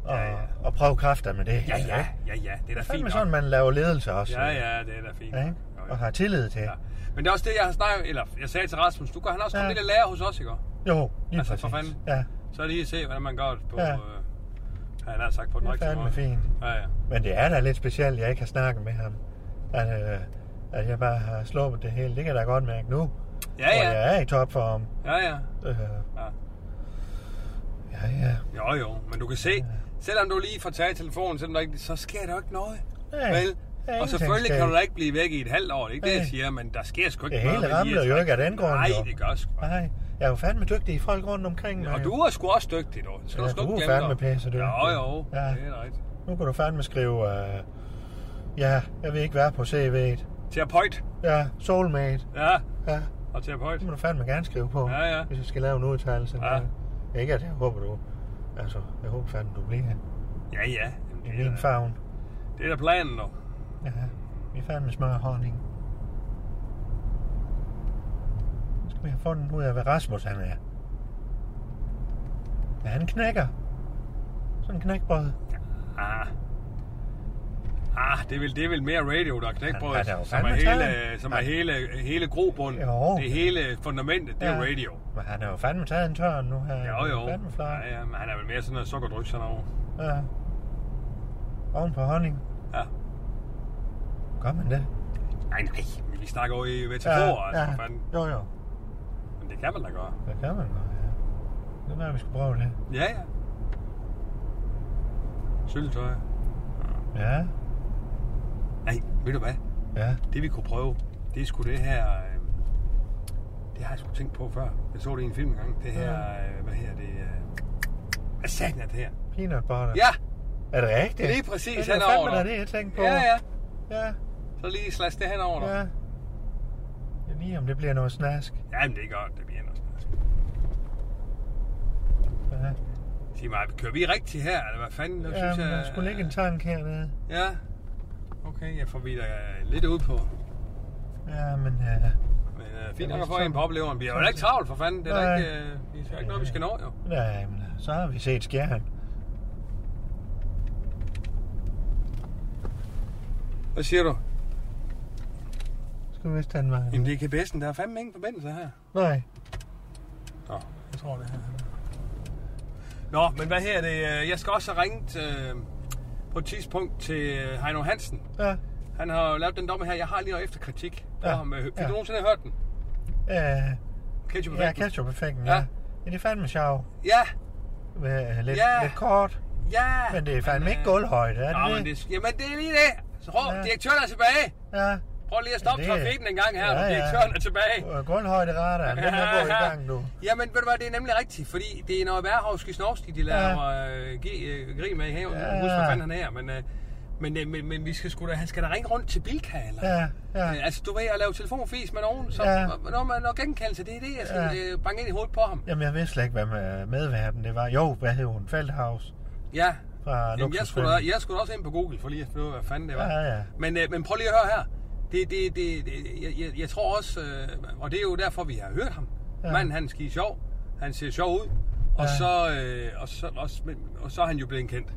S4: at,
S5: Ja, ja.
S4: at prøve kræfter med det her.
S5: Ja, ja,
S4: ikke?
S5: ja, ja, det er
S4: Det
S5: da
S4: er fandme
S5: fint
S4: sådan,
S5: nok.
S4: man laver ledelse også.
S5: Ja, ja, det er da fint
S4: ja,
S5: nok.
S4: ikke?
S5: Jo, jo.
S4: Og har tillid til.
S5: Ja. Men det er også det, jeg har snakket, eller jeg sagde til Rasmus, du kan han også komme
S4: Ja.
S5: lidt at lære hos os, ikke? også?
S4: Jo, lige
S5: Altså, for
S4: præcis.
S5: fanden.
S4: Ja,
S5: Så lige se, hvordan man gør det på, ja.
S4: Ja.
S5: øh, han har sagt på den
S4: det er
S5: rigtige
S4: fandme
S5: måde.
S4: fint.
S5: Ja, ja.
S4: Men det er da lidt specielt, jeg ikke har snakket med ham. At, øh, at jeg bare har sluppet det hele. Det kan jeg da godt mærke nu.
S5: Ja,
S4: Hvor
S5: ja.
S4: jeg er i topform.
S5: Ja, ja.
S4: Øh,
S5: Ja.
S4: ja, ja.
S5: Jo, jo. Men du kan se, selvom du lige får taget telefonen, selvom der ikke, så sker der jo ikke noget.
S4: Nej,
S5: Vel?
S4: der er
S5: Og
S4: ingenting
S5: selvfølgelig kan
S4: sket.
S5: du da ikke blive væk i et halvt år, det er ikke det, jeg
S4: Nej.
S5: siger, men der sker sgu ikke
S4: Det
S5: noget.
S4: hele
S5: med lige
S4: ramler
S5: at
S4: jo ikke
S5: trække-
S4: af den grund.
S5: Nej,
S4: jo.
S5: det gør sgu.
S4: Nej, jeg er jo fandme dygtig i folk rundt omkring mig.
S5: Og
S4: jo.
S5: du er sgu også dygtig, dog. Skal
S4: Ja,
S5: sgu
S4: du
S5: ikke
S4: er
S5: glemme
S4: fandme
S5: dig.
S4: pissedygtig.
S5: Jo, jo.
S4: Ja.
S5: Det er rigtigt.
S4: Nu kan du fandme skrive, øh, ja, jeg vil ikke være på CV'et.
S5: Terapeut.
S4: Ja, soulmate.
S5: Ja,
S4: Ja,
S5: og terapeut.
S4: det må du fandme gerne skrive på,
S5: Ja, ja.
S4: hvis jeg skal lave en udtalelse.
S5: Ja.
S4: Ikke at jeg håber, du... Altså, jeg håber fandme, du bliver
S5: Ja, ja.
S4: i
S5: Jamen, Det
S4: min
S5: er, da-
S4: favn.
S5: det er da planen, dog.
S4: Ja, vi er fandme smør og honning. Nu skal vi have fundet ud af, hvad Rasmus han er. Ja, han knækker. Sådan en knækbrød.
S5: Ah. Ah, det er, vel, det er vel mere radio, der er knækbrød,
S4: Han- han er
S5: som,
S4: jo
S5: som er
S4: fandme
S5: hele,
S4: taget.
S5: som er
S4: Han-
S5: hele, hele grobunden.
S4: Jo.
S5: Det er hele fundamentet, det er
S4: Ja.
S5: jo radio.
S4: Men han er jo fandme taget en tørn nu her.
S5: Jo, jo.
S4: Fandme flot.
S5: Ja, ja, men han er vel mere sådan noget sukkerdryk sådan over.
S4: Ja. Oven på honning.
S5: Ja.
S4: Gør man det?
S5: Nej, nej, men vi snakker jo i metaforer, ja, altså, ja. Fanden.
S4: Jo, jo.
S5: Men det kan man da gøre.
S4: Det kan man godt, ja. Det var, vi skulle prøve det.
S5: Ja, ja. Syltøj.
S4: Ja,
S5: Nej, ved du hvad?
S4: ja.
S5: Det vi kunne prøve, det er sgu det her... Øh, det har jeg sgu tænkt på før. Jeg så det i en film engang. Det her, øh, hvad her det... Øh, hvad sagde det her?
S4: Peanut butter.
S5: Ja,
S4: Er det rigtigt?
S5: lige præcis.
S4: Det er
S5: henover
S4: fandme da
S5: dig.
S4: det, jeg tænkte på.
S5: Ja, ja.
S4: Ja,
S5: Så lige slash det hen over dig.
S4: ja.
S5: Ja.
S4: Jeg lige om det bliver noget snask.
S5: Jamen, det er godt. Det bliver noget. snask.
S4: Ja,
S5: Sig mig, kører vi rigtigt her? Eller hvad fanden? Nu
S4: ja men der skulle ligge en tank hernede.
S5: Ja. Okay, jeg får vi da lidt ud på.
S4: Ja, men ja.
S5: Men øh, fint
S4: er
S5: nok at få
S4: sådan-
S5: en på opleveren. Vi har jo da ikke travlt, for fanden. Det er da
S4: Nej.
S5: ikke, øh, vi skal ikke noget, vi skal nå, jo.
S4: Nej, men øh, så har vi set skjern.
S5: Hvad siger du?
S4: Skal vi vist den vej?
S5: Jamen, det er KBS'en. Der er fandme ingen forbindelse her.
S4: Nej.
S5: Nå, jeg tror det her. Nå, men hvad her er det? Jeg skal også have ringet øh, på et tidspunkt til øh, Heino Hansen.
S4: Ja.
S5: Han har jo lavet den domme her. Jeg har lige noget efterkritik på ja.
S4: Ja,
S5: ham. Øh, Fik ja.
S4: ja.
S5: du nogensinde hørt den?
S4: Øh,
S5: Ketchup
S4: ja,
S5: effekten?
S4: ketchup-effekten,
S5: Ja.
S4: ja. ja. Det er fandme sjov.
S5: Ja,
S4: Med, øh, lidt,
S5: Ja.
S4: lidt kort,
S5: ja.
S4: men det er fandme ikke
S5: øh,
S4: gulvhøjde, er det
S5: Nå, men det, jamen, det er lige det. Så råb, ja.
S4: Ja.
S5: direktøren er tilbage.
S4: Ja.
S5: Prøv lige at stoppe
S4: Det-
S5: trafikken en gang her,
S4: Ja,
S5: ja,
S4: ja.
S5: direktøren er tilbage.
S4: Øh, Gulvhøjderadaren, den er gået i gang nu.
S5: Jamen, ved du hvad, det er nemlig rigtigt, fordi det er noget værhavske snorski, de laver ja. øh, gi- øh, grin med i haven. Ja.
S4: Ja.
S5: Jeg husker, hvad fanden han er, men, øh, men, øh, men, men vi skal sgu da, han skal da ringe rundt til Bilka, eller?
S4: Ja, ja.
S5: Øh, altså, du ved, at lave telefonfis med nogen, så ja.
S4: Ja.
S5: når man når genkendelse, det er det, jeg skal ja.
S4: Ja.
S5: banke ind i hovedet på ham.
S4: Jamen, jeg vidste slet ikke, hvad med medværten det var. Jo, hvad hed hun? Feldhaus
S5: Ja,
S4: fra
S5: Jamen, jeg, skulle da, jeg skulle da også ind på Google for lige at finde ud af, hvad fanden det var.
S4: Ja, ja.
S5: Men, øh, men prøv lige at høre her. Det, det, det, det jeg, jeg, jeg tror også, øh, og det er jo derfor, vi har hørt ham. Ja.
S4: Ja.
S5: Manden, han skider sjov. Han ser sjov ud. Og,
S4: Ja.
S5: så, øh, og, så, og, så, men, og så er han jo blevet kendt.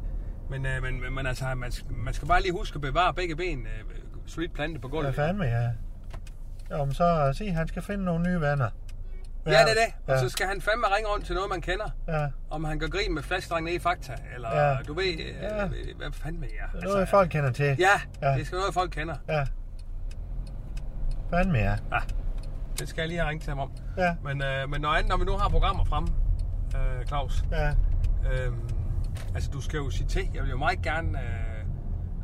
S5: Men, øh, men, men- men altså, man, skal- man skal bare lige huske at bevare begge ben øh, solidt plantet på
S4: Hvad
S5: gulvet.
S4: fanden med, ja. Jo, men så se, han skal finde nogle nye venner.
S5: Ja, det er det. Og
S4: Ja,
S5: så skal han fandme ringe rundt til noget, man kender.
S4: ja.
S5: Om han gør grin med flaskedreng nede i Fakta. Eller ja.
S4: Ja.
S5: du ved, øh,
S4: Ja.
S5: hvad fanden med jer?
S4: Det er noget, folk kender til.
S5: Altså, Ja, ja,
S4: Ja.
S5: det skal noget, folk kender.
S4: Ja. Fanden med, ja.
S5: Det skal jeg lige have ringet til ham om.
S4: Ja,
S5: Men, øh, men når, andet, når vi nu har programmer frem, øh, Claus,
S4: ja.
S5: øh, altså du skal jo sige til. Jeg vil jo meget gerne øh,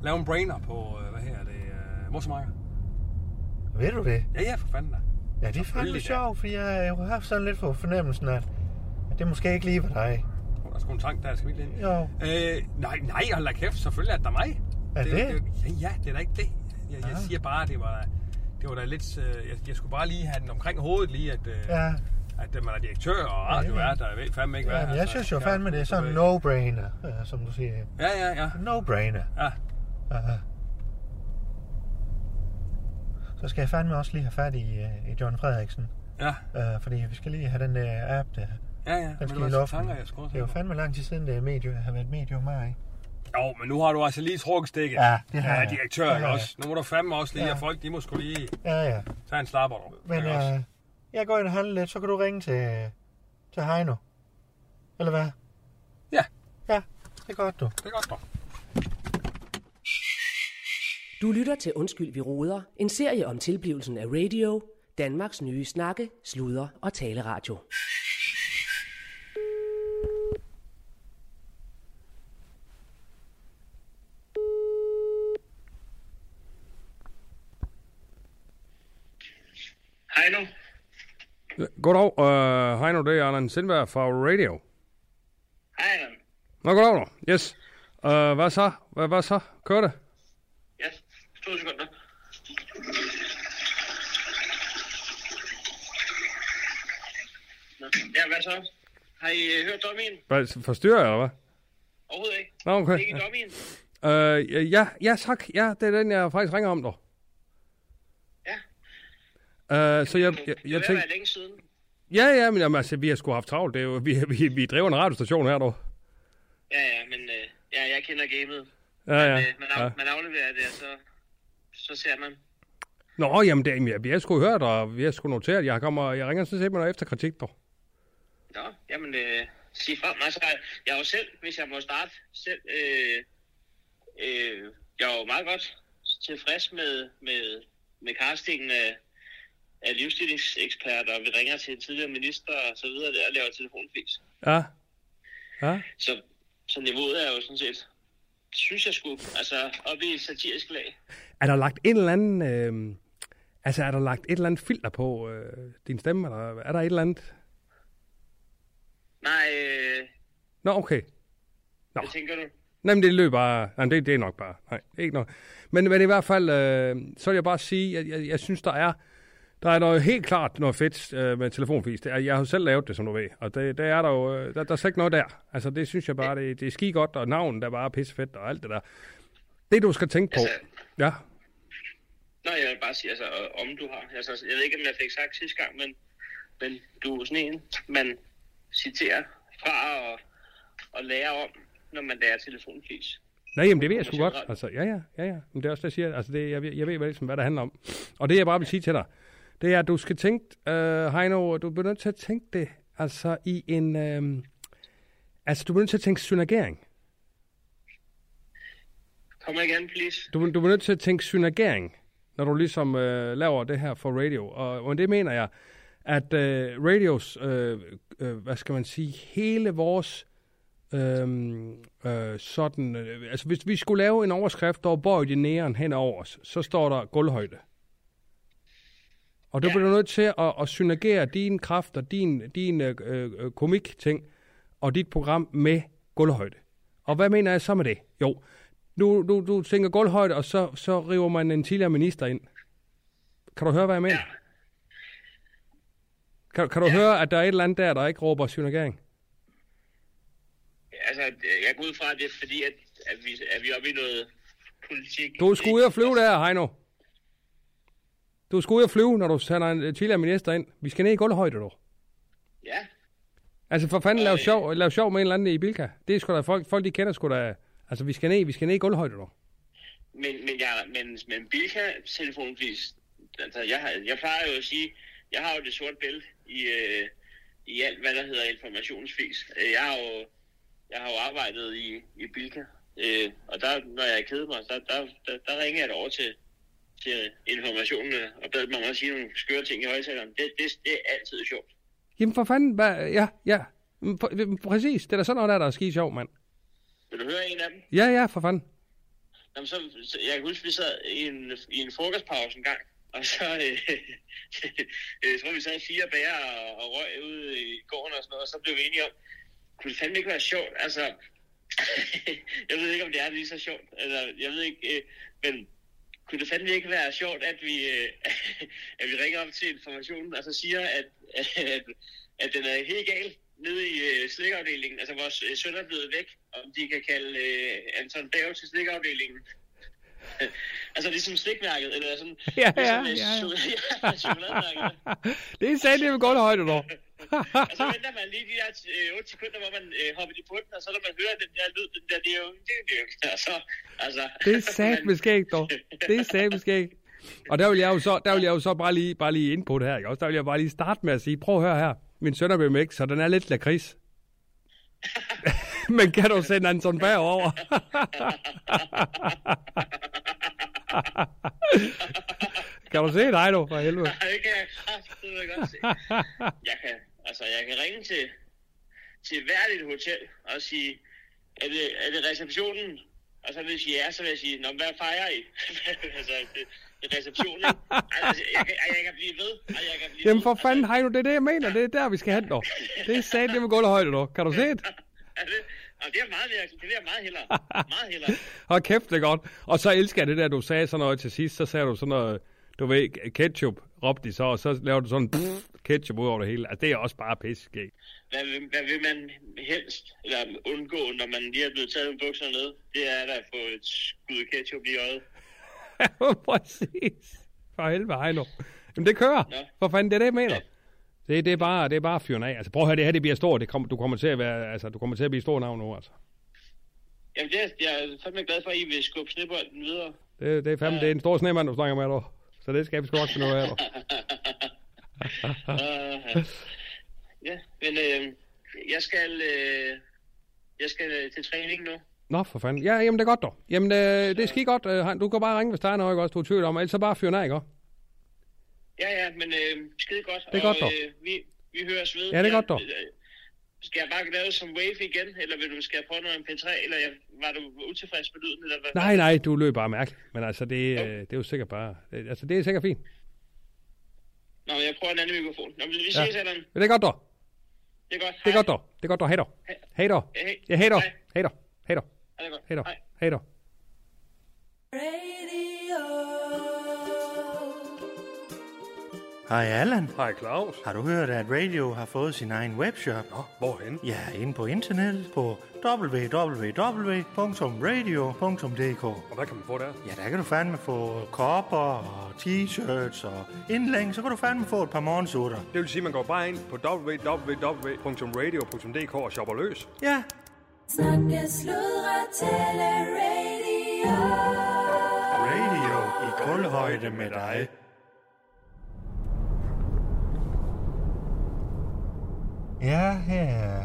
S5: lave en brainer på, øh, hvad her det, øh, motormarker.
S4: Ved du det?
S5: Ja, ja, for fanden da.
S4: Ja, det er fandme
S5: Selvfølgelig, ja.
S4: sjovt, for jeg har jo haft sådan lidt på fornemmelsen, at at det måske ikke lige var dig.
S5: Oh, der er sgu en tank der, skal vi ikke lige ind.
S4: Jo.
S5: Øh, nej, nej, hold da kæft, selvfølgelig er det da mig.
S4: Er
S5: er jo-
S4: det?
S5: er jo- ja, ja, det er da ikke det. Jeg, jeg
S4: Ah.
S5: siger bare, det var, det var da lidt, øh, jeg, jeg skulle bare lige have den omkring hovedet lige, at, øh,
S4: Ja,
S5: at øh, man er direktør og
S4: Ja, ja.
S5: radiovært, der ved fandme ikke hvad.
S4: ja men jeg
S5: altså,
S4: synes jo
S5: kan-
S4: fandme, det er sådan en
S5: du ved.
S4: no-brainer, øh, som du siger.
S5: Ja, ja, ja.
S4: No-brainer.
S5: Ja.
S4: Aha. Så skal jeg fandme også lige have fat i, øh, i John Frederiksen.
S5: Ja,
S4: Øh, fordi vi skal lige have den der app der.
S5: ja, ja.
S4: Den
S5: Men
S4: skal
S5: det
S4: i
S5: var
S4: luften.
S5: tanker, jeg skulle også
S4: Det er jo
S5: have.
S4: fandme lang tid siden, det er medie, har været medie mig. ikke?
S5: Jo, men nu har du altså lige trukket stikket.
S4: Ja, det har
S5: ja,
S4: jeg.
S5: direktør
S4: Det
S5: ja, ja.
S4: har jeg.
S5: også. Nu må du fandme også lige, ja.
S4: Ja.
S5: at folk de må sgu lige
S4: Ja, ja.
S5: tage en slapper dog.
S4: Men
S5: Ikke også?
S4: øh, jeg går ind og handler lidt, så kan du ringe til, til Heino. Eller hvad?
S5: Ja.
S4: Ja, det er godt du.
S5: det er godt dog.
S1: Du lytter til Undskyld, vi roder. En serie om tilblivelsen af radio. Danmarks nye snakke, sludre og taleradio.
S7: Hej nu.
S5: Goddag, øh, hej nu, det er Allan Sindberg fra Radio.
S7: Hej, Allan.
S5: Nå, goddag nu. Yes. Uh, hvad så? Hvad, hvad så? Kører det?
S7: Ja, to sekunder. Nå, Ja, hvad så? Har I øh, hørt dommien?
S5: Hvad, forstyrrer jeg, eller hvad?
S7: Overhovedet ikke.
S5: Nå,
S7: Det er
S5: okay.
S7: ikke dommien.
S5: Øh, ja, ja, tak. Ja, det er den, jeg faktisk ringer om, dog.
S7: Ja.
S5: Uh, så jeg, jeg,
S7: Det
S5: jeg
S7: jeg
S5: tænkte...
S7: være længe siden.
S5: Ja, ja, men jamen, altså, vi har sgu haft travlt. Det er jo, vi, vi, vi driver en radiostation her, dog.
S7: Ja, ja, men øh, ja, jeg kender gamet.
S5: Ja, ja.
S7: Øh, man, af,
S5: ja.
S7: man afleverer det, og så, så ser man.
S5: Nå, jamen, det, jamen, jeg, jeg skulle hørt, og jeg skulle noteret. Jeg, kommer, jeg ringer sådan set med noget efterkritik, dog.
S7: Nå, jamen, øh, sig frem. Altså, jeg er jo selv, hvis jeg må starte, selv, øh, øh, jeg er jo meget godt tilfreds med, med, med castingen af, af livsstilingseksperter, vi ringer til tidligere minister og så videre, der og laver telefonfis.
S8: Ja. Ja.
S7: Så, så niveauet er jo sådan set, synes jeg skulle, altså op i et satirisk lag.
S5: Er der lagt en eller anden... Øh, altså, er der lagt et eller andet filter på øh, din stemme? Eller er der et eller andet...
S7: Nej, øh,
S5: Nå, okay.
S7: hvad tænker du?
S5: Nej, men det løber bare... Nej, det, det er nok bare... Nej, det er ikke noget. Men, men i hvert fald, øh, så vil jeg bare sige, at jeg, jeg synes, der er... Der er noget helt klart noget fedt øh, med telefonfis. Det er, jeg har jo selv lavet det, som du ved. Og det, det er der jo... øh, Der, der er slet ikke noget der. Altså, det synes jeg bare, det, det er ski godt, og navnet er bare pissefedt og alt det der. Det, du skal tænke på...
S7: Altså-
S5: Ja,
S7: Nå, jeg vil bare sige, altså, og- om du har. Altså, jeg ved ikke, om jeg fik sagt sidste gang, men, men du er sådan en, man citerer fra og, og lærer om, når man lærer telefonfis.
S5: Nej, jamen det ved jeg sgu godt.
S7: Generelt.
S5: Altså, ja, ja, ja, ja. Men det er også det, jeg siger. Altså, det, jeg, ved- jeg ved ligesom, hvad det handler om. Og det, jeg bare vil sige til dig, det er, at du skal tænke, øh, Heino, du bliver nødt til at tænke det, altså i en, øh, altså du bliver nødt til at tænke synergering.
S7: Kom igen, please.
S5: Du, du bliver nødt til at tænke synergering, når du ligesom øh, laver det her for radio. Og, og det mener jeg, at øh, radios, øh, øh, hvad skal man sige, hele vores øhm, øh, sådan... Øh, altså, hvis vi skulle lave en overskrift, der var bøjet i næren hen over os, så står der gulvhøjde. Og du
S7: Ja.
S5: bliver du nødt til at, at synergere dine kræfter, din, din øh, øh, komik-ting og dit program med gulvhøjde. Og hvad mener jeg så med det? Jo, du, du, du tænker gulvhøjde, og så, så river man en tidligere minister ind. Kan du høre, hvad jeg mener?
S7: Ja.
S5: Kan, kan du ja. høre, at der er et eller andet der, der ikke råber synergering?
S7: Altså, jeg går ud fra, at det er fordi, at, at, vi, at vi er oppe i noget politik.
S5: Du skulle ud og flyve der, Heino. Du skulle ud og flyve, når du sender en øh, tidligere minister ind. Vi skal ned i gulvhøjde, du.
S7: Ja,
S5: Altså for fanden, lav
S7: Øh.
S5: sjov, lav sjov med en eller anden i Bilka. Det er sgu da folk, folk de kender sgu da. Altså vi skal ned, vi skal ned i gulvhøjde, du.
S7: men, men, jeg, men, men Bilka telefonfis, altså, jeg, har- jeg plejer jo at sige, jeg har jo det sorte bælte i, øh, i alt, hvad der hedder informationsfis. Øh, Jeg har jo, jeg har jo arbejdet i, i Bilka, øh, og der, når jeg er kede mig, der, der, der, der ringer jeg da over til, til informationen og beder dem om at sige nogle skøre ting i højtaleren. Det, det, det er altid sjovt.
S5: Jamen for fanden, hvad? Ja, ja. Mm, pr- Præcis, det er da sådan noget der, der er skide sjov, mand.
S7: Vil du høre en af dem?
S5: Ja, ja, for fanden.
S7: Jamen, så, så, jeg kan huske, vi sad i en, i en frokostpause en gang, og så, øh, jeg tror, vi sad fire bager og, og røg ude i gården og sådan noget, og så blev vi enige om, kunne det fandme ikke være sjovt, altså, jeg ved ikke, om det er lige så sjovt, eller jeg ved ikke, øh, men kunne det fandme ikke være sjovt, at vi, øh, at vi ringer op til informationen, og så siger, at, at, at den er helt gal nede i øh, slikafdelingen. Altså, vores øh, søn er blevet væk, om de kan kalde øh, Anton Bave til slikafdelingen. altså, ligesom slikmærket, eller sådan...
S5: Ja, ja,
S7: ligesom, øh,
S5: ja, ja.
S7: chokolade- ja. chokolademærket.
S5: det er sandt, det er gulvhøjde, du.
S7: Og så venter man lige de der øh, 8 sekunder, hvor man øh, hopper i bunden, og så når man hører den der lyd, den der, det er jo... Det er jo og så, altså,
S5: Det er sat med skægt, dog. Det er sat med skægt. Og der vil jeg jo så, der vil jeg jo så bare lige, bare lige ind på det her, ikke? også? Der vil jeg bare lige starte med at sige, prøv at høre her. Min søn er blevet væk, så den er lidt lakrids. Men kan du sende Anton Berg over? kan du se dig, du, for helvede?
S7: Nej, det kan jeg kraftedeme godt se. Jeg kan, altså, jeg kan ringe til, til hvert et hotel og sige, er det, er det receptionen? Og så vil jeg sige ja, så vil jeg sige, Nå, men hvad fejrer I? altså, det, det er receptionen. ikke? Altså, jeg, kan, jeg kan blive ved. og Jeg kan blive
S5: Jamen
S7: ved. Altså,
S5: for fanden, Heino, det er det, jeg mener. Det er der, vi skal hen, dog. Det er sat med gulvhøjde, dog. Kan du se det?
S7: Er det, og det er meget virkelig. Det er meget hellere. Meget hellere.
S5: Hold kæft, det er godt. Og så elsker jeg det der, du sagde sådan noget til sidst, så sagde du sådan noget, du ved, ketchup, råbte de så, og så laver du sådan pff, ketchup ud over det hele. Altså, det er også bare pissegæg.
S7: Hvad, vil- hvad vil man helst eller undgå, når man lige er blevet taget med bukserne ned? Det er da at få et skud ketchup i øjet.
S5: Præcis. For helvede, hej nu. Jamen, det kører.
S7: Ja.
S5: For fanden, det er det, jeg mener. Det, det, er bare, det er bare fyren af. Altså, prøv at høre, det her, det bliver stort. Det kommer, du, kommer til at være, altså, du kommer til at blive stor navn nu, altså.
S7: Jamen, det er, jeg er fandme glad for, at I vil skubbe snebolden videre.
S5: Det, det er fandme, det er en stor snemand, du snakker med, du. Så det skal vi sgu nok finde ud af, du.
S7: uh, ja, men øh, jeg skal, øh, jeg skal øh, til træning nu.
S5: Nå, for fanden. Ja, jamen, det er godt, dog. Jamen, øh, det er skidt godt. øh, Hein. Du kan bare ringe, hvis der er noget, ikke også? Du er i tvivl om. Ellers så bare fyren af, ikke også?
S7: Ja, ja, men øh, skide godt.
S5: Det er
S7: og,
S5: godt, dog.
S7: Øh, vi, vi høres ved.
S5: Ja, det er godt, dog.
S7: Øh, Skal jeg bare lave som wave igen, eller vil du, skal jeg prøve noget med en P3, eller jeg, var du utilfreds med lyden, eller hvad?
S5: Nej, nej, du løb bare mærkeligt. Men altså, det, øh, det er jo sikkert bare... det- Altså, det er sikkert fint.
S7: Nå, jeg prøver en anden mikrofon. Nå, men vi ses, ja. Allan.
S5: Men det er godt, dog.
S7: Det er godt.
S5: Det er godt, dog. Det er godt, dog. Hej, dog. Hej, dog.
S7: Hej.
S5: Ja, hej, dog.
S7: Hej.
S5: Hej, dog. Hej, dog.
S7: Ja, det er godt.
S5: Hej, dog.
S7: Hej.
S5: Hej, dog.
S4: Hej Allan,
S5: Hej, Claus.
S4: har du hørt, at Radio har fået sin egen webshop?
S5: Nå, hvorhen?
S4: Ja, inde på internettet på www.radio.dk.
S5: Og hvad kan man få der?
S4: Ja, der kan du fandme få kopper og t-shirts og indlæng, så kan du fandme få et par morgensutter.
S5: Det vil sige, at man går bare ind på www.radio.dk og shopper løs.
S4: Ja,
S2: Snakke, sludre, tale, radio.
S4: radio i kulhøjde med dig. Ja, her er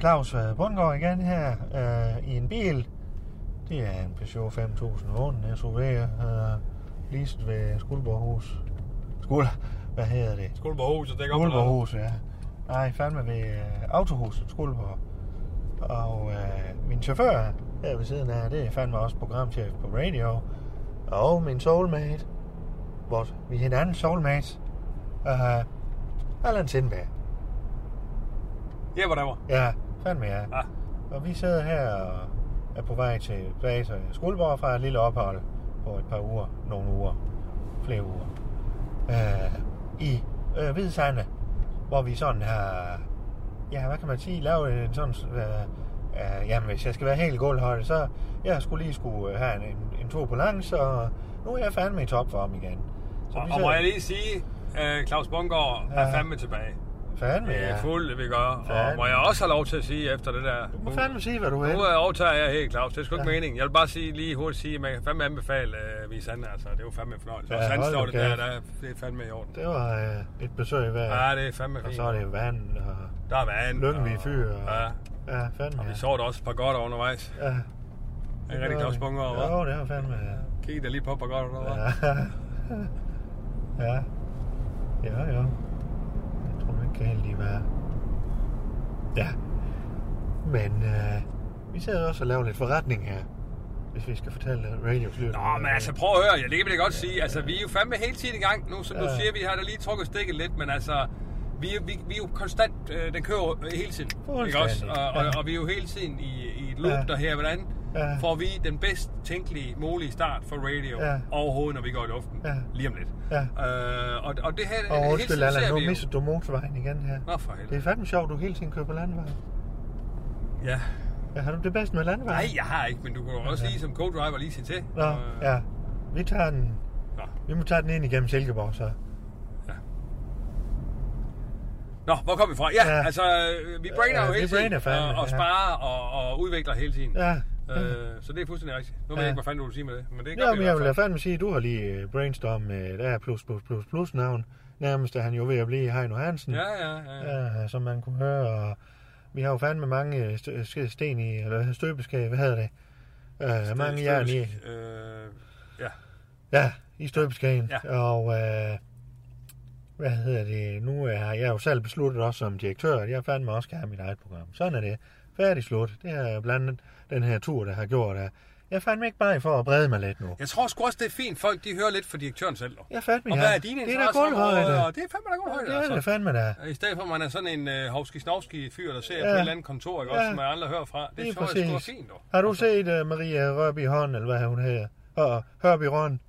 S4: Claus øh, Bundgaard igen her øh, i en bil. Det er en Peugeot 5000 vogn SUV, øh, leased ved Skuldborghus. Skuld, hvad hedder det?
S5: Skuldborghuset, det er
S4: Skuldborghus, ja. Nej, fandme ved øh, Autohuset Skuldborg. Og øh, min chauffør her ved siden af, det er fandme også programchef på radio. Og min soulmate. Vores, vi er hinanden soulmates. Øh, Allan Sindberg.
S5: Ja, hvor der var.
S4: Ja, fandme ja.
S5: Ah.
S4: Og vi sidder her og er på vej tilbage til Skuldborg fra et lille ophold på et par uger, nogle uger, flere uger, øh, i øh, Hvide Sande, hvor vi sådan har, ja, hvad kan man sige, lavet en sådan, øh, øh, jamen hvis jeg skal være helt gulvhøjde, så jeg skulle lige skulle øh, have en, en, en tur på langs, og nu er jeg fandme i topform igen. Så
S5: Og,
S4: vi
S5: og må
S4: sidder-
S5: jeg lige sige, øh, Claus Bungård er fandme tilbage.
S4: Fandme,
S5: Det
S4: ja.
S5: er fuldt, vi gør. Og
S4: Fandme.
S5: må jeg også have lov til at sige efter det der...
S4: Du må fandme sige, hvad du vil.
S5: Nu øh, overtager jeg helt, Claus. Det er sgu ikke
S4: Ja.
S5: meningen. Jeg vil bare sige, lige hurtigt sige, at man kan fandme anbefale øh, Vis Sande, altså. Det er jo fandme en fornøjelse.
S4: Ja,
S5: Ja, og
S4: hold
S5: Sandstår,
S4: nu
S5: det
S4: kæft.
S5: der, der, er- det er fandme i orden.
S4: Det var øh, et besøg værd.
S5: Ja, det er fandme
S4: Og
S5: fint.
S4: så er det vand og
S5: Der er vand.
S4: Lyngvi
S5: og-
S4: Fyr. Og,
S5: Ja,
S4: ja, fandme.
S5: og vi så da også et par godt undervejs.
S4: Ja,
S5: Er I rigtig Claus Bungård, hva'?
S4: Jo, det var fandme, ja.
S5: Kig da lige på et par godt undervejs.
S4: ja. Ja, jo. Jeg tror, man kan lige være. Ja. Men øh, vi sidder også og laver lidt forretning her. Hvis vi skal fortælle radios lytter.
S5: Nå, men altså prøv at høre, ja, det kan vi da godt sige. Altså, vi er jo fandme hele tiden i gang nu, som du
S4: Ja.
S5: siger, vi har da lige trukket stikket lidt, men altså, vi, er- vi, vi er jo konstant, øh, den kører jo hele tiden, ikke også? Og, og,
S4: Ja.
S5: og vi er jo hele tiden i, i et loop
S4: Ja.
S5: der her, hvordan
S4: Ja.
S5: får vi den bedst tænkelige mulige start for radio
S4: Ja.
S5: overhovedet, når vi går i luften,
S4: Ja.
S5: lige om lidt.
S4: Ja.
S5: Øh, og, og det her,
S4: Og
S5: hele tiden
S4: undskyld, Allan,
S5: ser
S4: nu
S5: vi jo-
S4: misser du motorvejen igen her.
S5: Nå, for
S4: Det er
S5: helvede.
S4: fandme sjovt, du hele tiden kører på landvejen.
S5: Ja.
S4: Ja, har du det bedst med landvejen?
S5: Nej, jeg har ikke, men du kunne jo også lige som co-driver lige sige til.
S4: Nå,
S5: Øh,
S4: ja. Vi tager den.
S5: Nå.
S4: Vi må tage den ind igennem Silkeborg, så.
S5: Nå, hvor kom vi fra? Ja,
S4: Ja.
S5: ja. altså, øh, vi brainer
S4: Ja,
S5: jo
S4: vi
S5: hele tiden,
S4: brainer fandme,
S5: og, og
S4: ja.
S5: sparer og, og udvikler hele tiden.
S4: Ja.
S5: Øh, så det er fuldstændig rigtigt. Nu ved
S4: Ja.
S5: jeg ikke, hvad fanden du vil sige med det, men det gør
S4: Ja,
S5: vi
S4: men
S5: i
S4: jeg
S5: hvert
S4: vil
S5: fald.
S4: da fandme sige, at du har lige brainstormet med det her plus plus plus plus navn. Nærmest er han jo ved at blive Heino Hansen.
S5: Ja, ja, ja. ja.
S4: ja som man kunne høre. Og vi har jo fandme mange øh, stø- ske- sten i, eller støbeskab, hvad hedder det? Uh, mange jern i.
S5: Øh, ja.
S4: Ja, i støbeskagen.
S5: Ja.
S4: Og øh, hvad hedder det? Nu er jeg jo selv besluttet også som direktør, at jeg fandme også skal have mit eget program. Sådan er det. Færdig slut. Det er blandt andet den her tur, der har gjort, at jeg er fandme ikke bare for at brede mig lidt nu.
S5: Jeg tror sgu også, det er fint. Folk, de hører lidt fra direktøren selv. dog.
S4: Jeg fandme,
S5: Og
S4: ja.
S5: hvad er dine
S4: Det er da
S5: interesseområder?
S4: gulvhøjde.
S5: Og det er fandme da god højde,
S4: Det er det
S5: altså.
S4: fandme da.
S5: I stedet for, at man er sådan en øh, hovski fyr der ser ja. på
S4: Ja.
S5: et eller andet kontor, ikke? Også,
S4: Ja.
S5: som man aldrig hører fra. Det,
S4: Lige
S5: det tror jeg sgu er
S4: præcis.
S5: fint, dog.
S4: Har du set uh, Maria Rørby Hånd, eller hvad hun hedder? Og Hørby Røn.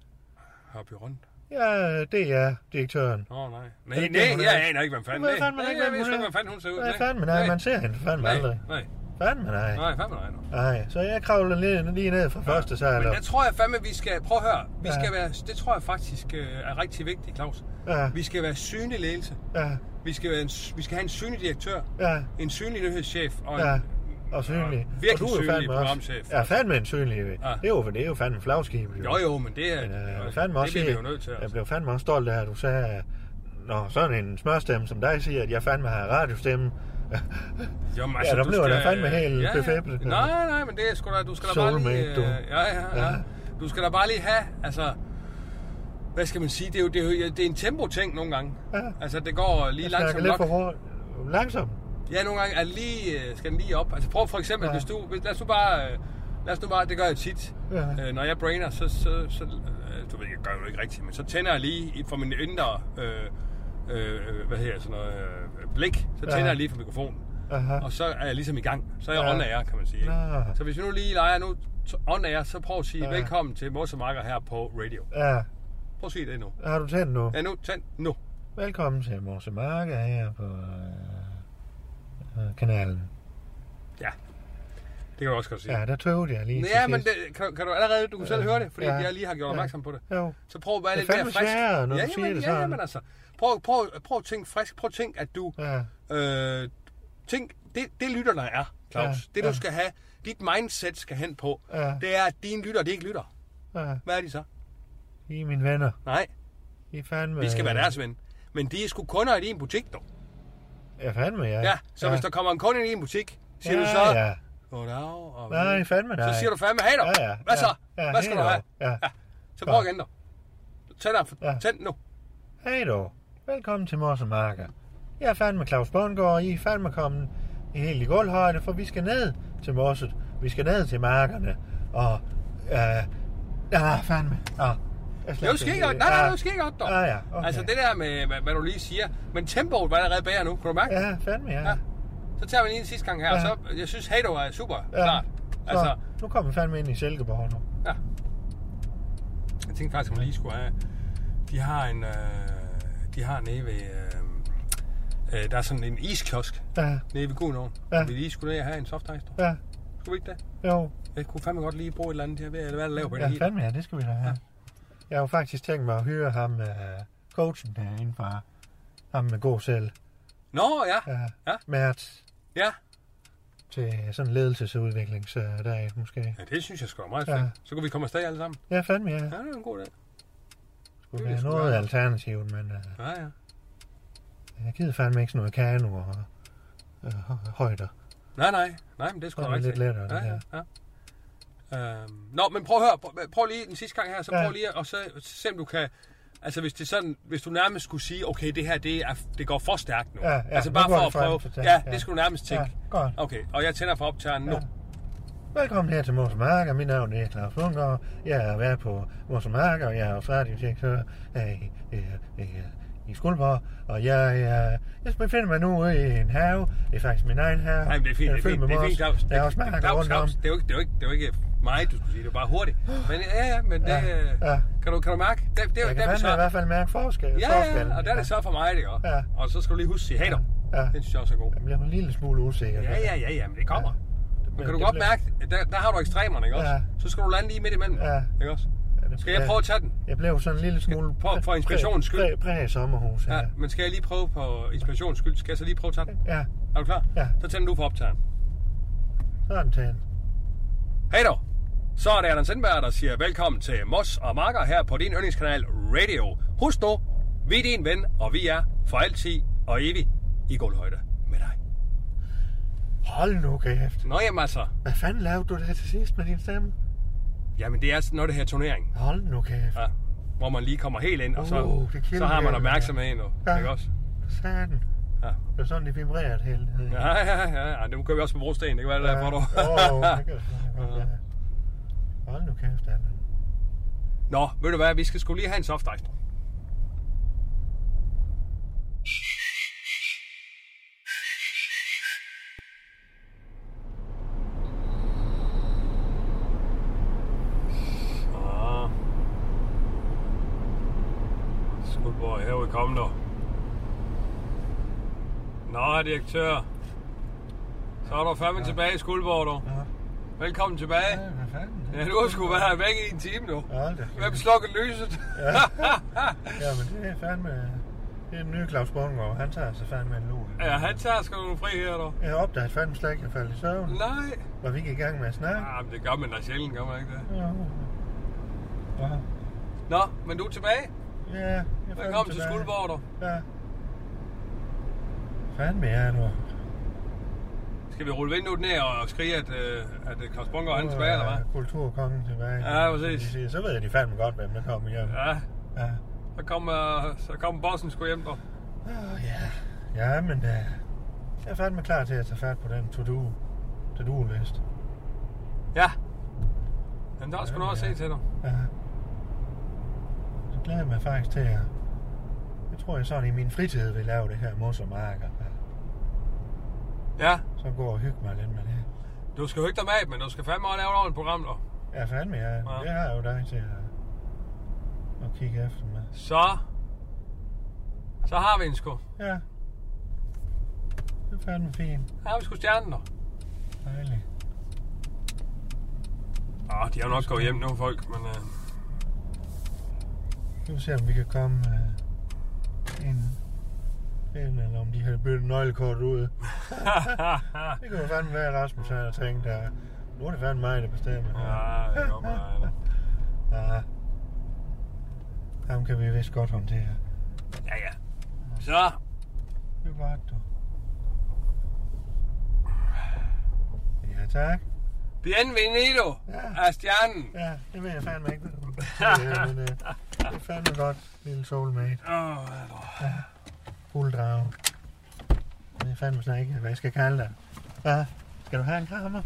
S5: Hørby rundt.
S4: Ja, øh, det er direktøren.
S5: Åh, oh, nej.
S4: er
S5: Nej,
S4: ikke
S5: nej,
S4: det, hun er.
S5: jeg aner ikke, hvem fanden
S4: ved fandme
S5: Nej,
S4: ikke,
S5: jeg
S4: hvem
S5: ved
S4: hun
S5: sgu ikke,
S4: er.
S5: hvem fanden hun ser ud.
S4: Nej, fandme nej, man ser hende fandme
S5: Nej,
S4: aldrig.
S5: nej.
S4: Fandme nej.
S5: Nej, fandme nej nu.
S4: Nej, så jeg kravler lige, lige ned fra første sal.
S5: Men
S4: og-
S5: jeg tror jeg fandme, vi skal... Prøv at høre. Vi
S4: Ja.
S5: skal være... Det tror jeg faktisk øh, er rigtig vigtigt, Claus.
S4: Ja,
S5: Vi skal være synlig ledelse.
S4: ja,
S5: Vi skal, være en, vi skal have en synlig direktør,
S4: ja,
S5: en synlig nyhedschef og en,
S4: ja. Og synlig.
S5: virkelig
S4: Og du er
S5: synlig
S4: fandme også-
S5: programchef. altså.
S4: Ja, fandme en synlig. ved.
S5: Ja.
S4: Det er jo, det er jo fandme flagskib.
S5: Jo jo, men det er...
S4: Men, øh, jeg
S5: det
S4: blev fandme også
S5: bliver vi
S4: helt-
S5: jo nødt til.
S4: Jeg
S5: Altså.
S4: blev fandme også stolt af, at du sagde, at når sådan en smørstemme som dig siger, at jeg fandme har radiostemme.
S5: Jamen, altså,
S4: der
S5: du
S4: blev
S5: skal-
S4: jeg da fandme helt befæblet.
S5: Nej, nej, men det er sgu da... Du skal da bare lige...
S4: Soulmate, du.
S5: øh, Ja, ja,
S4: Ja.
S5: ja. Du skal da bare lige have... Altså, hvad skal man sige, det er jo, det er jo det er en tempo-ting nogle gange. Ja. Altså, det går lige
S4: Jeg
S5: langsomt
S4: snakker lidt
S5: nok.
S4: for hurtigt. Langsomt?
S5: Ja, nogle gange er lige, øh, skal den lige op. Altså prøv for eksempel, ja.
S4: Ja.
S5: hvis du, hvis, lad os nu bare, øh, lad os nu bare, det gør jeg tit.
S4: Ja.
S5: Øh, når jeg brainer, så, så, så øh, du ved, jeg gør det jo ikke rigtigt, men så tænder jeg lige i- for min indre, øh, øh, hvad hedder sådan noget, øh, blik, så tænder
S4: Ja.
S5: jeg lige for mikrofonen.
S4: Aha.
S5: Og så er jeg ligesom i gang. Så er jeg
S4: Ja.
S5: on air, kan man sige. Ikke?
S4: Nå.
S5: Så hvis vi nu lige leger nu t- on air, så prøv at sige
S4: Ja.
S5: velkommen til Morsemakker her på radio.
S4: Ja.
S5: Prøv at sige det nu.
S4: Har du tændt nu?
S5: Ja, nu, tænd nu.
S4: Velkommen til Morse Marke her på øh, øh, kanalen.
S5: Det kan du også godt sige.
S4: Ja, der tøvede jeg lige til
S5: Ja, men
S4: sidst.
S5: det, kan, kan du allerede, du kan selv høre det, fordi
S4: Ja.
S5: jeg lige har gjort
S4: Ja.
S5: opmærksom på det.
S4: Jo.
S5: Så prøv at være
S4: Det er
S5: lidt mere
S4: fandme
S5: frisk.
S4: sværere, når
S5: ja,
S4: du siger
S5: jamen,
S4: det
S5: ja,
S4: sådan.
S5: Jamen, altså, prøv, prøv, prøv at tænke frisk. Prøv at tænke, at du...
S4: Ja.
S5: Øh, tænk, det, det lytterne er, Claus.
S4: Ja,
S5: Det, du
S4: ja.
S5: skal have, dit mindset skal hen på,
S4: Ja.
S5: det er, at dine lytter, de ikke lytter.
S4: Ja.
S5: Hvad er de så?
S4: I er mine venner.
S5: Nej,
S4: I er fandme...
S5: vi skal være deres ven. Men de er sgu kunder i din butik, dog.
S4: Ja, fandme, ja.
S5: Ja, så hvis der kommer en kunde ind i en butik, siger
S4: ja,
S5: du så...
S4: Ja,
S5: Goddag, og
S4: Nej, fandme nej.
S5: Så siger du fandme, hey dog.
S4: Ja, ja,
S5: Hvad
S4: ja,
S5: så?
S4: ja,
S5: Hvad skal
S4: hey
S5: du have?
S4: dog, ja.
S5: Så prøv igen dog. Tænd, op,
S4: Ja.
S5: tænd nu.
S4: Hej då. Velkommen til Morse Marker. Jeg er fandme Claus Bundgaard, og I er fandme kommet i helt i gulvhøjde, for vi skal ned til Morset. Vi skal ned til markerne. Og... Øh, ja, fandme. Ja.
S5: Det er jo skide godt. Nej, nej, det er jo skide godt, dog.
S4: Ah, ja, okay.
S5: Altså det der med, hvad, hvad du lige siger. Men tempoet var allerede bedre nu, kan du mærke?
S4: Ja, fandme, ja.
S5: Ja. Så tager vi lige en sidste gang her,
S4: Ja.
S5: og så, jeg synes, hey, dog er super ja. klart.
S4: Så,
S5: Altså,
S4: altså... nu kommer vi fandme ind i Silkeborg nu.
S5: ja. Jeg tænkte faktisk, at man lige skulle have... De har en... Øh, de har nede ved... Øh, øh, der er sådan en iskiosk
S4: Ja,
S5: nede ved Gudenåen.
S4: Ja.
S5: Ja. Vi lige skulle ned og have en soft ice, dog.
S4: ja,
S5: Skulle vi ikke det?
S4: jo.
S5: Jeg kunne fandme godt lige bruge et eller andet her ved, eller hvad der laver på
S4: Ja,
S5: energi.
S4: fandme, ja, det skal vi da have. Jeg har jo faktisk tænkt mig at hyre ham, øh, coachen derinde fra ham med god selv,
S5: Nå, ja.
S4: øh,
S5: Ja.
S4: Mert,
S5: ja.
S4: til sådan en ledelsesudvikling, så der er måske.
S5: Ja, det synes jeg sgu er meget
S4: Ja.
S5: fedt. Så kunne vi komme afsted alle sammen.
S4: Ja, fandme, ja.
S5: Ja, det er en god dag.
S4: Skulle
S5: det
S4: være
S5: skulle
S4: noget
S5: være.
S4: alternativ, men øh,
S5: Ja, ja.
S4: jeg gider fandme ikke sådan noget kano og øh, hø- højder.
S5: Nej, nej. Nej, men det er sgu
S4: Det
S5: da
S4: er lidt
S5: rigtigt.
S4: lettere,
S5: ja, ja.
S4: det
S5: ja. Øhm, nå, men prøv at høre. Prøv, prøv lige den sidste gang her, så
S4: Ja.
S5: prøv lige, at- og så se om du kan... Altså, hvis, det er sådan, hvis du nærmest skulle sige, okay, det her, det, er, det går for stærkt nu.
S4: Ja, ja,
S5: altså,
S4: nu
S5: bare
S4: går
S5: for
S4: det
S5: at
S4: frem
S5: prøve.
S4: for stærkt,
S5: ja,
S4: ja.
S5: det skulle du nærmest tænke.
S4: Ja, godt.
S5: Okay, og jeg tænder for optageren nu.
S4: Ja. Velkommen her til Mors og Marker. Mit navn er Claus Lundgaard. Jeg er været på Mors og Marker, og jeg er også radiodirektør her i, i, i, i Skuldborg. Og jeg, jeg, jeg befinder mig nu ude i en have. Det er faktisk min egen have.
S5: Nej, men det er fint,
S4: Den
S5: det er
S4: fyldt
S5: fint,
S4: med
S5: det er
S4: mos.
S5: fint, Claus.
S4: Der er også marker
S5: Claus,
S4: rundt om.
S5: Claus, det er jo ikke, det er jo ikke, det er jo ikke mig, du skulle sige, det er bare hurtigt. Men ja, ja, men det,
S4: Ja,
S5: ja.
S4: ja.
S5: Kan, du, kan du mærke? Det, det, er jo-
S4: Jeg
S5: der er
S4: kan fandme
S5: vi så.
S4: i hvert fald mærke forskel.
S5: Ja,
S4: forskellen.
S5: ja, og der er det så for mig, det gør.
S4: Ja.
S5: Og så skal du lige huske at sige, hey dog.
S4: Ja.
S5: Den synes jeg også er god.
S4: Jeg bliver en lille smule usikker.
S5: Ja, ja, ja, ja, men det kommer. Men kan du
S4: det
S5: godt
S4: bliver-
S5: mærke, at der, der har du ekstremerne, ikke også?
S4: Ja.
S5: Så skal du lande lige midt imellem,
S4: Ja.
S5: ikke også?
S4: Ja, det-
S5: Skal jeg
S4: ja.
S5: prøve at tage den?
S4: Jeg blev sådan en lille smule...
S5: for- for inspirationens skyld.
S4: Præ, præ, præ sommerhus, ja.
S5: Ja, men skal jeg lige prøve på inspirations skyld? Skal jeg så lige prøve at tage den?
S4: Ja,
S5: Er du klar?
S4: Ja.
S5: Så tænder du for optageren.
S4: sådan til en.
S5: Hej då! Så er det Allan Sindberg, der siger velkommen til Moss og Marker her på din yndlingskanal Radio. Husk nu, vi er din ven, og vi er for altid og evig i gulvhøjde med dig.
S4: Hold nu kæft.
S5: Nå jamen altså,
S4: Hvad fanden lavede du der til sidst med din stemme?
S5: jamen det er sådan noget, det her turnering.
S4: Hold nu kæft.
S5: Ja, hvor man lige kommer helt ind, og så,
S4: Uh, det kilder
S5: så har man
S4: det,
S5: opmærksomhed endnu. Ja.
S4: Ja.
S5: Ikke også?
S4: Satan.
S5: Ja.
S4: Det er sådan, det vibrerer et helt.
S5: Ja, ja, ja. ja. Nu kører vi også på brosten, det kan være, det er derfor, du...
S4: Åh, det kan jeg sgu godt, ja. Hold nu kæft, Allan.
S5: Nå, ved du hvad, vi skal skulle lige have en soft ice. Ah. Skuldborg, her vi komme nu. Nå, direktør. Så er du fandme tilbage i Skuldborg, du.
S4: Ja.
S5: Velkommen tilbage.
S4: Ja, hvad fanden?
S5: Ja, du har sgu været væk i en time nu.
S4: Hold da kæft.
S5: Hvem slukker lyset? Ja.
S4: Ja, men det er fandme... Det er den nye Claus Bundgaard. Han tager sig fandme en lur.
S5: ja, han tager sgu nogle fri her, du.
S4: Jeg opdagede fandme slet ikke, at jeg faldt i søvn.
S5: Nej.
S4: Var vi ikke i gang med at snakke?
S5: Ah, men det gør man da sjældent, gør man ikke det?
S4: Ja. Ja.
S5: Nå, men du er tilbage.
S4: Ja, jeg fandt
S5: Velkommen til
S4: tilbage.
S5: Skuldborg, du.
S4: Ja. Fanden med jer nu.
S5: Skal vi rulle vinduet ned og skrige, at, øh, at øh, Claus Bunker han er tilbage, eller hvad?
S4: Kulturkongen tilbage.
S5: Ja, præcis.
S4: De siger, Så ved jeg de fandme godt, hvem der kommer hjem.
S5: Ja,
S4: ja.
S5: Så kom, øh, så kom bossen sgu hjem, dog.
S3: Åh, ja. Ja, men øh, jeg er fandme klar til at tage fat på den to-do, to-do-list.
S5: Ja. Jamen, der er sgu noget at se til, dog.
S3: Ja. Så glæder jeg mig faktisk til at... Jeg tror, jeg sådan i min fritid vil lave det her mos og marker.
S5: Ja,
S3: Så gå og hygge mig lidt med det.
S5: du skal jo ikke dig med, men du skal fandme også lave et ordentligt program, dog.
S3: Ja, fandme, jeg,
S5: Ja.
S3: ja. jeg har jo dig til at, at kigge efter med.
S5: Så... Så har vi en sgu.
S3: Ja. Det er fandme fint.
S5: Her har vi sgu stjernen, dog.
S3: Dejligt.
S5: Ah, de har jo nok gået hjem nu, folk, men... Øh,
S3: Nu vi se, om vi kan komme øh, ind, ind, eller om de har byttet nøglekort ud. det kunne jo fandme være, at Rasmus havde tænkt, at nu er det fandme mig, der bestemmer.
S5: ja, det går mig, dog.
S3: Ja. Ham kan vi vist godt håndtere.
S5: Ja, ja. Så,
S3: Det er godt, du. Ja, tak.
S5: bienvenido
S3: Ja.
S5: af stjernen.
S3: Ja, det ved jeg fandme ikke. hvad du- Ja, men, øh, det er fandme godt, lille soulmate.
S5: Åh, hvad er det?
S3: Fulddrage. Det er fandme snart ikke, hvad jeg skal kalde dig. Hvad? Skal du have en krammer?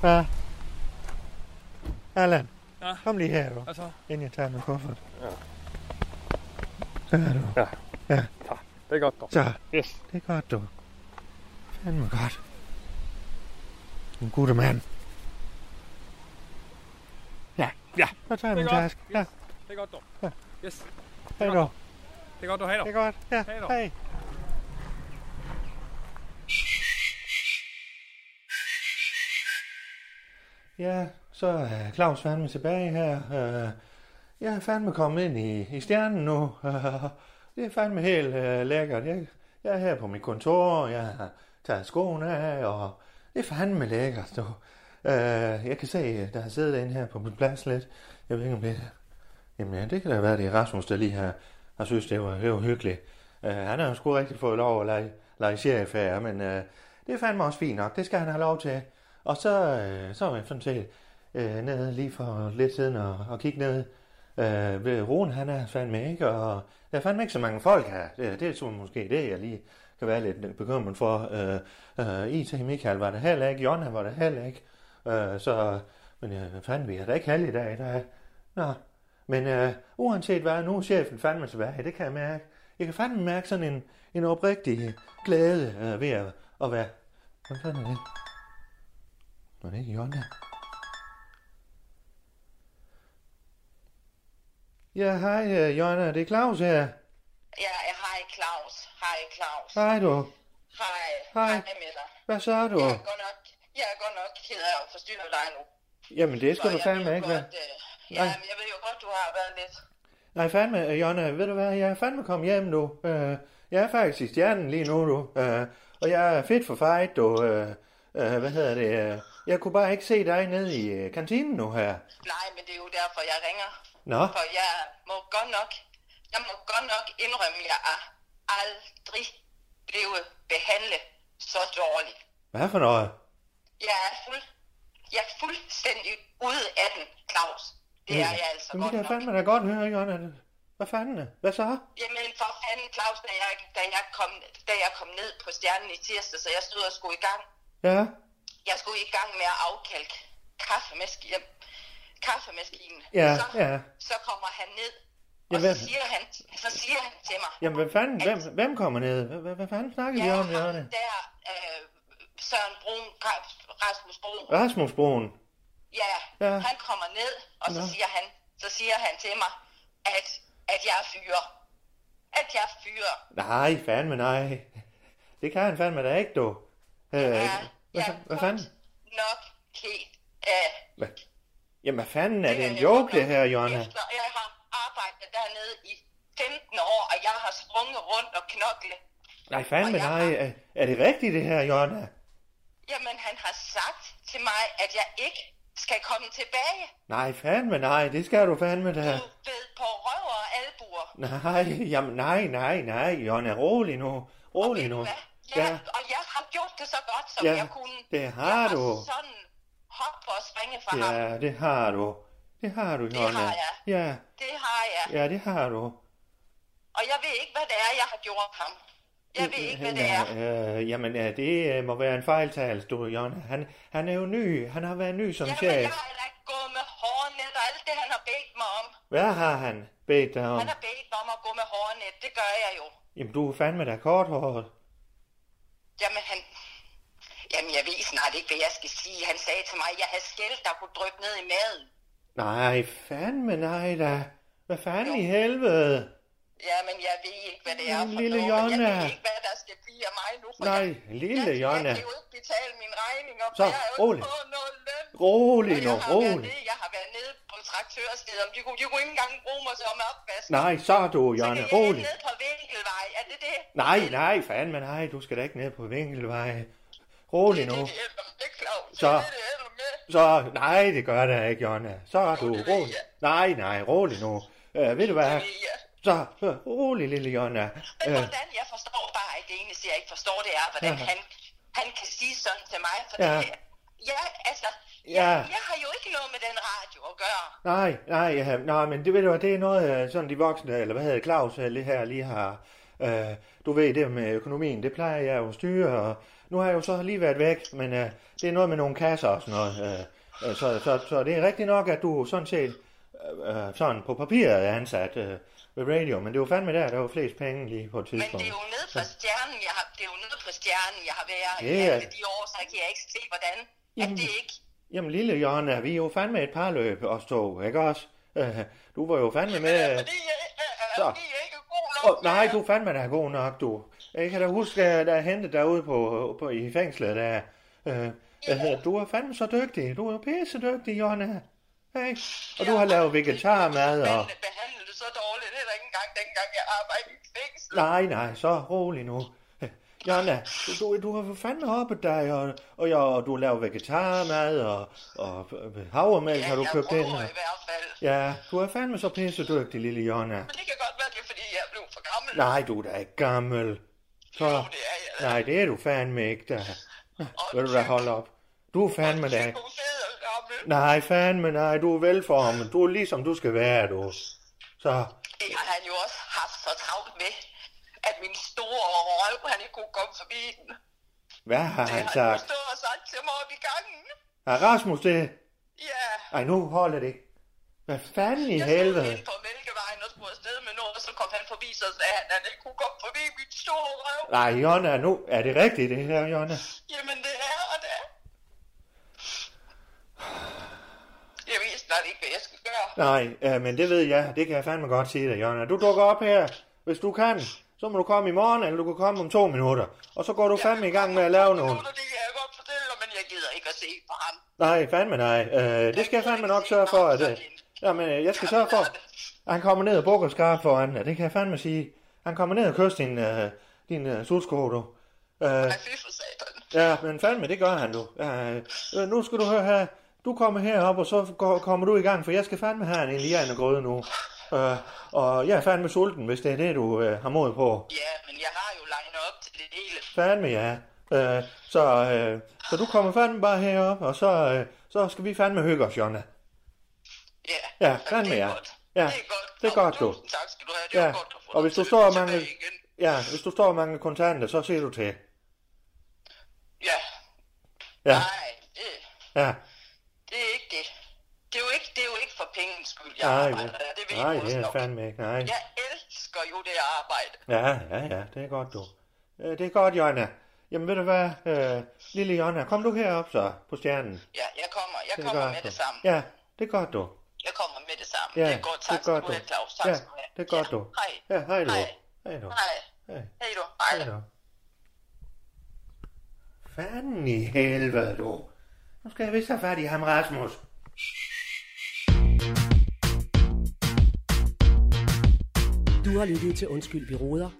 S3: Hvad? Allan,
S5: Ja?
S3: kom lige her, du.
S5: Hvad så?
S3: Inden jeg tager min kuffert. Ja. Der er du.
S5: Det er godt, dog.
S3: Så,
S5: Yes.
S3: det er godt, du. Fandme godt. En god mand. Ja,
S5: Ja.
S3: Så tager jeg
S5: Det er
S3: min
S5: godt.
S3: taske. Ja,
S5: Det er godt, dog. Yes.
S3: hej du.
S5: Det er godt, du har
S3: Det er godt. Ja,
S5: Hej du.
S3: hej. Ja, så er Claus fandme tilbage her. Øh, Jeg er fandme kommet ind i, i stjernen nu. Det er fandme helt øh, lækkert. Jeg, jeg er her på mit kontor, jeg har taget skoene af, og det er fandme lækkert. Du. Øh, Jeg kan se, øh, der har siddet en her på min plads lidt. Jeg ved ikke, om det er Jamen ja, det kan da være, det er Rasmus, der lige har, har synes, det var, det var hyggeligt. Uh, han har jo sgu rigtig fået lov at lege, lege chef her, men uh, det er fandme også fint nok. Det skal han have lov til. Og så, uh, så var jeg sådan set uh, nede lige for lidt siden og, og kigge ned uh, ved Rune. Han er fandme ikke, og der er fandme ikke så mange folk her. Det, det er så måske det, jeg lige kan være lidt bekymret for. Uh, uh, IT Michael var der heller ikke, Jonna var der heller ikke. Uh, så, men uh, fandme, vi har da ikke halv i dag. Der er, nå, men øh, uanset hvad, nu er chefen fandme tilbage, det kan jeg mærke. Jeg kan fandme mærke sådan en, en oprigtig glæde øh, ved at, at være... Hvad fanden er det? Nå, det er ikke Jonna. Ja, hej øh, Jonna, det er Claus her.
S9: Ja, ja, hej Claus. Hej Claus.
S3: Hej du.
S9: Hej.
S3: Hej.
S9: med dig.
S3: Hvad så du?
S9: Jeg er godt nok, jeg er godt nok ked af at forstyrre dig nu.
S3: Jamen det skal
S9: Og
S3: du
S9: jeg ved
S3: fandme
S9: jo
S3: ikke være.
S9: godt, øh, Ja,
S3: Nej.
S9: men jeg ved jo godt, du har været lidt...
S3: Nej, fandme, øh, Jonna, ved du hvad, jeg er fandme kommet hjem nu. Øh, jeg er faktisk i stjernen lige nu, du. Øh, og jeg er fedt for fight, du. Øh, øh, hvad hedder det? Øh, jeg kunne bare ikke se dig nede i øh, kantinen nu her.
S9: Nej, men det er jo derfor, jeg ringer.
S3: Nå,
S9: For jeg må godt nok... Jeg må godt nok indrømme, at jeg er aldrig blevet behandlet så dårligt.
S3: hvad for noget?
S9: Jeg er fuld... Jeg er fuldstændig ude af den, Claus. Det er jeg altså
S3: Jamen,
S9: godt
S3: det kan
S9: nok.
S3: jeg fandme da godt høre, Jonna. Hvad fanden? Hvad så?
S9: Jamen for fanden, Claus, da jeg, da, jeg kom, da jeg kom ned på stjernen i tirsdag, så jeg stod og skulle i gang.
S3: Ja,
S9: Jeg skulle i gang med at afkalke kaffemaskinen. kaffemaskinen.
S3: ja,
S9: så,
S3: ja.
S9: så kommer han ned, og
S3: Ja,
S9: så
S3: hvem-
S9: siger, han, så siger han til mig,
S3: Jamen, hvad fanden? Hvem, hvem kommer ned? Hvad, hvad- hvad fanden snakker vi
S9: ja,
S3: om,
S9: ham
S3: Jonna?
S9: der øh, Søren Brun, Ka- Rasmus Brun,
S3: Rasmus Broen.
S9: ja,
S3: Ja.
S9: ja, han kommer ned, og så
S3: Nå.
S9: siger, han, så siger han til mig, at, at jeg er fyre. At jeg er fyre.
S3: Nej, fandme nej. Det kan han fandme da ikke, du. Øh,
S9: Ja,
S3: hvad,
S9: jeg
S3: fa- hvad fanden?
S9: godt nok helt øh, af.
S3: Hvad? Jamen, hvad fanden er det en
S9: jeg godt
S3: joke, det
S9: nok
S3: her, Jonna?
S9: Efter jeg har arbejdet dernede i 15 år, og jeg har sprunget rundt og knoklet.
S3: Nej, fandme
S9: Og jeg
S3: nej.
S9: har-
S3: Er, er det rigtigt, det her, Jonna?
S9: Jamen, han har sagt til mig, at jeg ikke skal komme tilbage.
S3: Nej, fandme nej. Det skal du fandme da.
S9: Du ved på røv og albuer.
S3: Nej, jamen, nej, nej, nej, Jonna. Rolig nu. Rolig nu.
S9: Hvad? Ja,
S3: Ja,
S9: og jeg har gjort det så godt, som
S3: Ja,
S9: jeg kunne.
S3: det har
S9: jeg
S3: du.
S9: Har sådan hop og springe fra ham.
S3: ja, det har du. Det har du, Jonna.
S9: har jeg.
S3: Ja,
S9: Det har jeg.
S3: ja, det har du.
S9: Og jeg ved ikke, hvad det er, jeg har gjort ham. Jeg ved ikke, hvad det er.
S3: Ja, øh, jamen, ja, det øh, må være en fejltagelse, du, Jonna. Han, han er jo ny. Han har været ny som
S9: Jamen,
S3: chef.
S9: jeg har da gået med hårnet og alt det, han har bedt mig om.
S3: Hvad har han bedt dig om?
S9: Han har bedt mig om at gå med hårnet. Det gør jeg jo.
S3: Jamen, du er fandme da korthåret.
S9: Jamen, han... Jamen, jeg ved snart ikke, hvad jeg skal sige. Han sagde til mig, at jeg havde skæld, der kunne dryppe ned i maden.
S3: Nej, fandme nej da. Hvad fanden i helvede?
S9: Jamen, jeg ved ikke, hvad det er
S3: Men
S9: for
S3: lille
S9: noget. og Jeg
S3: Jonna.
S9: ved ikke, hvad der skal blive af mig nu. For
S3: Nej,
S9: jeg,
S3: lille
S9: jeg,
S3: Jonna.
S9: Jeg kan jo ikke betale min regning, og
S3: Så,
S9: jeg har jo
S3: rolig.
S9: ikke fået noget løn.
S3: Rolig
S9: Og
S3: nu,
S9: jeg har, været
S3: rolig.
S9: nede, jeg har været nede på traktørstedet, og de kunne, de kunne ikke engang bruge mig som opvask.
S3: Nej, så er du,
S9: Så kan
S3: Jonna.
S9: jeg
S3: Rolig.
S9: ikke ned på vinkelvej, er det det?
S3: Nej, nej, fandme nej. Du skal da ikke ned på vinkelvej. Rolig
S9: Det
S3: nu.
S9: er det, det, det, Claus.
S3: Så.
S9: Det er det, det, med.
S3: Så, nej, det gør der ikke, Jonna. Så er du rolig. Nej, nej, rolig nu. Øh, ved du hvad? Så, så rolig, lille Jonna.
S9: Men
S3: Øh,
S9: hvordan jeg forstår bare ikke, det eneste jeg ikke forstår, det er, hvordan
S3: Ja.
S9: han, han kan sige sådan til mig. For
S3: Ja.
S9: ja. Det, ja, altså,
S3: Ja.
S9: ja. Jeg, jeg har jo ikke noget med den radio at gøre.
S3: nej, nej, ja, nej, men det ved du hvad, det er noget, øh, sådan de voksne, eller hvad hedder Claus øh, lige her, lige har. Øh, du ved det med økonomien, det plejer jeg jo at styre, og nu har jeg jo så lige været væk, men øh, det er noget med nogle kasser og sådan noget. Øh, øh, så, så, så det er rigtigt nok, at du sådan set, øh, øh, sådan på papiret er ansat øh, ved radio, men det var fandme der, der var flest penge lige på et
S9: Men
S3: tidspunkt.
S9: det er jo nede for stjernen, jeg har, det er jo nede for stjernen, jeg har været
S3: Det
S9: i
S3: er- Mm.
S9: alle de år, så kan jeg ikke se, hvordan. At
S3: Jamen.
S9: det ikke...
S3: Jamen lille Jonna, vi er jo fandme et par løb og stå, ikke også? Øh, du var jo fandme med... Øh,
S9: Fordi jeg, jeg,
S3: Så.
S9: jeg, jeg er ikke god nok.
S3: Oh, nej, du fandt mig da god nok, du. Jeg kan da huske, at jeg hentede dig ude på, på, i fængslet. Der. Øh, øh, du er fandme så dygtig. Du er jo pisse dygtig, Jonna. Hey. Og du har lavet vegetarmad og...
S9: Behandle, behandle det så dårligt, heller ikke engang dengang jeg arbejdede i fængsel.
S3: Nej, nej, så rolig nu. Øh, Jonna, du, du har for fandme hoppet dig, og, og, jeg, og du har lavet vegetarmad, og, og øh, havremælk har du
S9: jeg
S3: købt ind.
S9: prøver
S3: Og,
S9: i hvert fald.
S3: ja, du er fandme så pisse dygtig, lille Jonna.
S9: Men det kan godt være, det er, fordi jeg er blevet for gammel.
S3: Nej, du er da ikke gammel. Så...
S9: Jo, det er jeg.
S3: Nej, det er du fandme ikke, der. Vil du da holde op? Du er fandme da ikke.
S9: Du er fed og gammel.
S3: Nej, fandme nej, du er velformet. Du er ligesom du skal være, du. Så,
S9: Det har han jo også haft så travlt med, at min store røv, han ikke kunne komme forbi den.
S3: hvad har
S9: Det
S3: han
S9: har han jo
S3: sagt?
S9: stået og sagt til mig op i gangen.
S3: Har Rasmus det?
S9: Ja.
S3: Ej, nu holder det ikke. Hvad fanden i
S9: Jeg stod
S3: helvede?
S9: inde på Mælkevejen og skulle afsted med noget, og så kom han forbi, så sagde han, at han ikke kunne komme forbi min store røv.
S3: Nej, Jonna, nu er det rigtigt, det her, Jonna.
S9: Jamen, det er og det er. Jeg ved snart ikke, hvad jeg skal gøre.
S3: Nej, øh, men det ved jeg. Det kan jeg fandme godt sige dig, Jonna. Du dukker op her, hvis du kan. Så må du komme i morgen, eller du kan komme om to minutter. Og så går du fandme i gang med at lave nogle.
S9: Det kan jeg godt fortælle dig, men jeg gider ikke at se på ham.
S3: Nej, fandme nej. Øh, det skal jeg fandme nok sørge for, at... Øh, jamen, øh, jeg skal sørge for... at Han kommer ned og bukker skarpt foran dig, det kan jeg fandme sige. Han kommer ned og kysser din, øh, din øh, sudsko, du. Øh,
S9: Ej, fy for satan.
S3: ja, men fandme, det gør han, du. Øh, øh, nu skal du høre her. Du kommer herop, og så går, kommer du i gang, for jeg skal fandme have en indianergrøde nu. Øh, og jeg er fandme sulten, hvis det er det, du øh, har mod på.
S9: Ja, men jeg har jo legnet op til det hele.
S3: Fandme ja. Øh, så, øh, så du kommer fandme bare herop, og så, øh, så skal vi fandme hygge os, Jonna.
S9: Ja,
S3: Ja,
S9: Jamen,
S3: fandme
S9: det er
S3: ja.
S9: godt.
S3: Ja,
S9: det er godt.
S3: det er
S9: Nå,
S3: godt, du.
S9: tusind Tak skal du have, det
S3: Ja,
S9: var godt at få
S3: og hvis
S9: dig
S3: du
S9: til-
S3: står og
S9: tilbage
S3: mangler-
S9: igen.
S3: Ja, hvis du står og mangler kontanter, så siger du til.
S9: Ja,
S3: Ja,
S9: nej, det,
S3: ja.
S9: det er ikke det. Det er jo ikke, det er jo ikke for pengens skyld, jeg
S3: Nej,
S9: arbejder. der. Det
S3: det,
S9: ved
S3: nej,
S9: du
S3: det
S9: også
S3: er
S9: nok.
S3: fandme ikke, nej.
S9: Jeg elsker jo det arbejde.
S3: Ja, ja, ja, det er godt, du. Øh, det er godt, Jonna. Jamen, ved du hvad, øh, lille Jonna, kom du herop så, på stjernen.
S9: Ja, jeg kommer, jeg
S3: Det er
S9: kommer
S3: godt,
S9: med
S3: du.
S9: det samme.
S3: Ja, det er godt, du.
S9: Jeg kommer med det samme.
S3: Ja,
S9: det er godt. Tak
S3: det er godt,
S9: skal du have,
S3: du.
S9: Claus. Tak
S3: Ja,
S9: skal du have.
S3: det er godt,
S9: ja.
S3: du.
S9: Hej.
S3: Ja, hej du.
S9: Hej.
S3: Hej du.
S9: Hej.
S3: Hej.
S9: Hej du. Hej.
S3: Hej du. Fanden i helvede, du. Nu skal jeg vist have fat i ham, Rasmus.
S1: Du har lyttet til Undskyld, vi råder.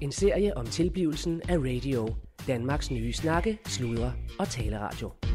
S1: En serie om tilblivelsen af radio. Danmarks nye snakke, sludre og taleradio.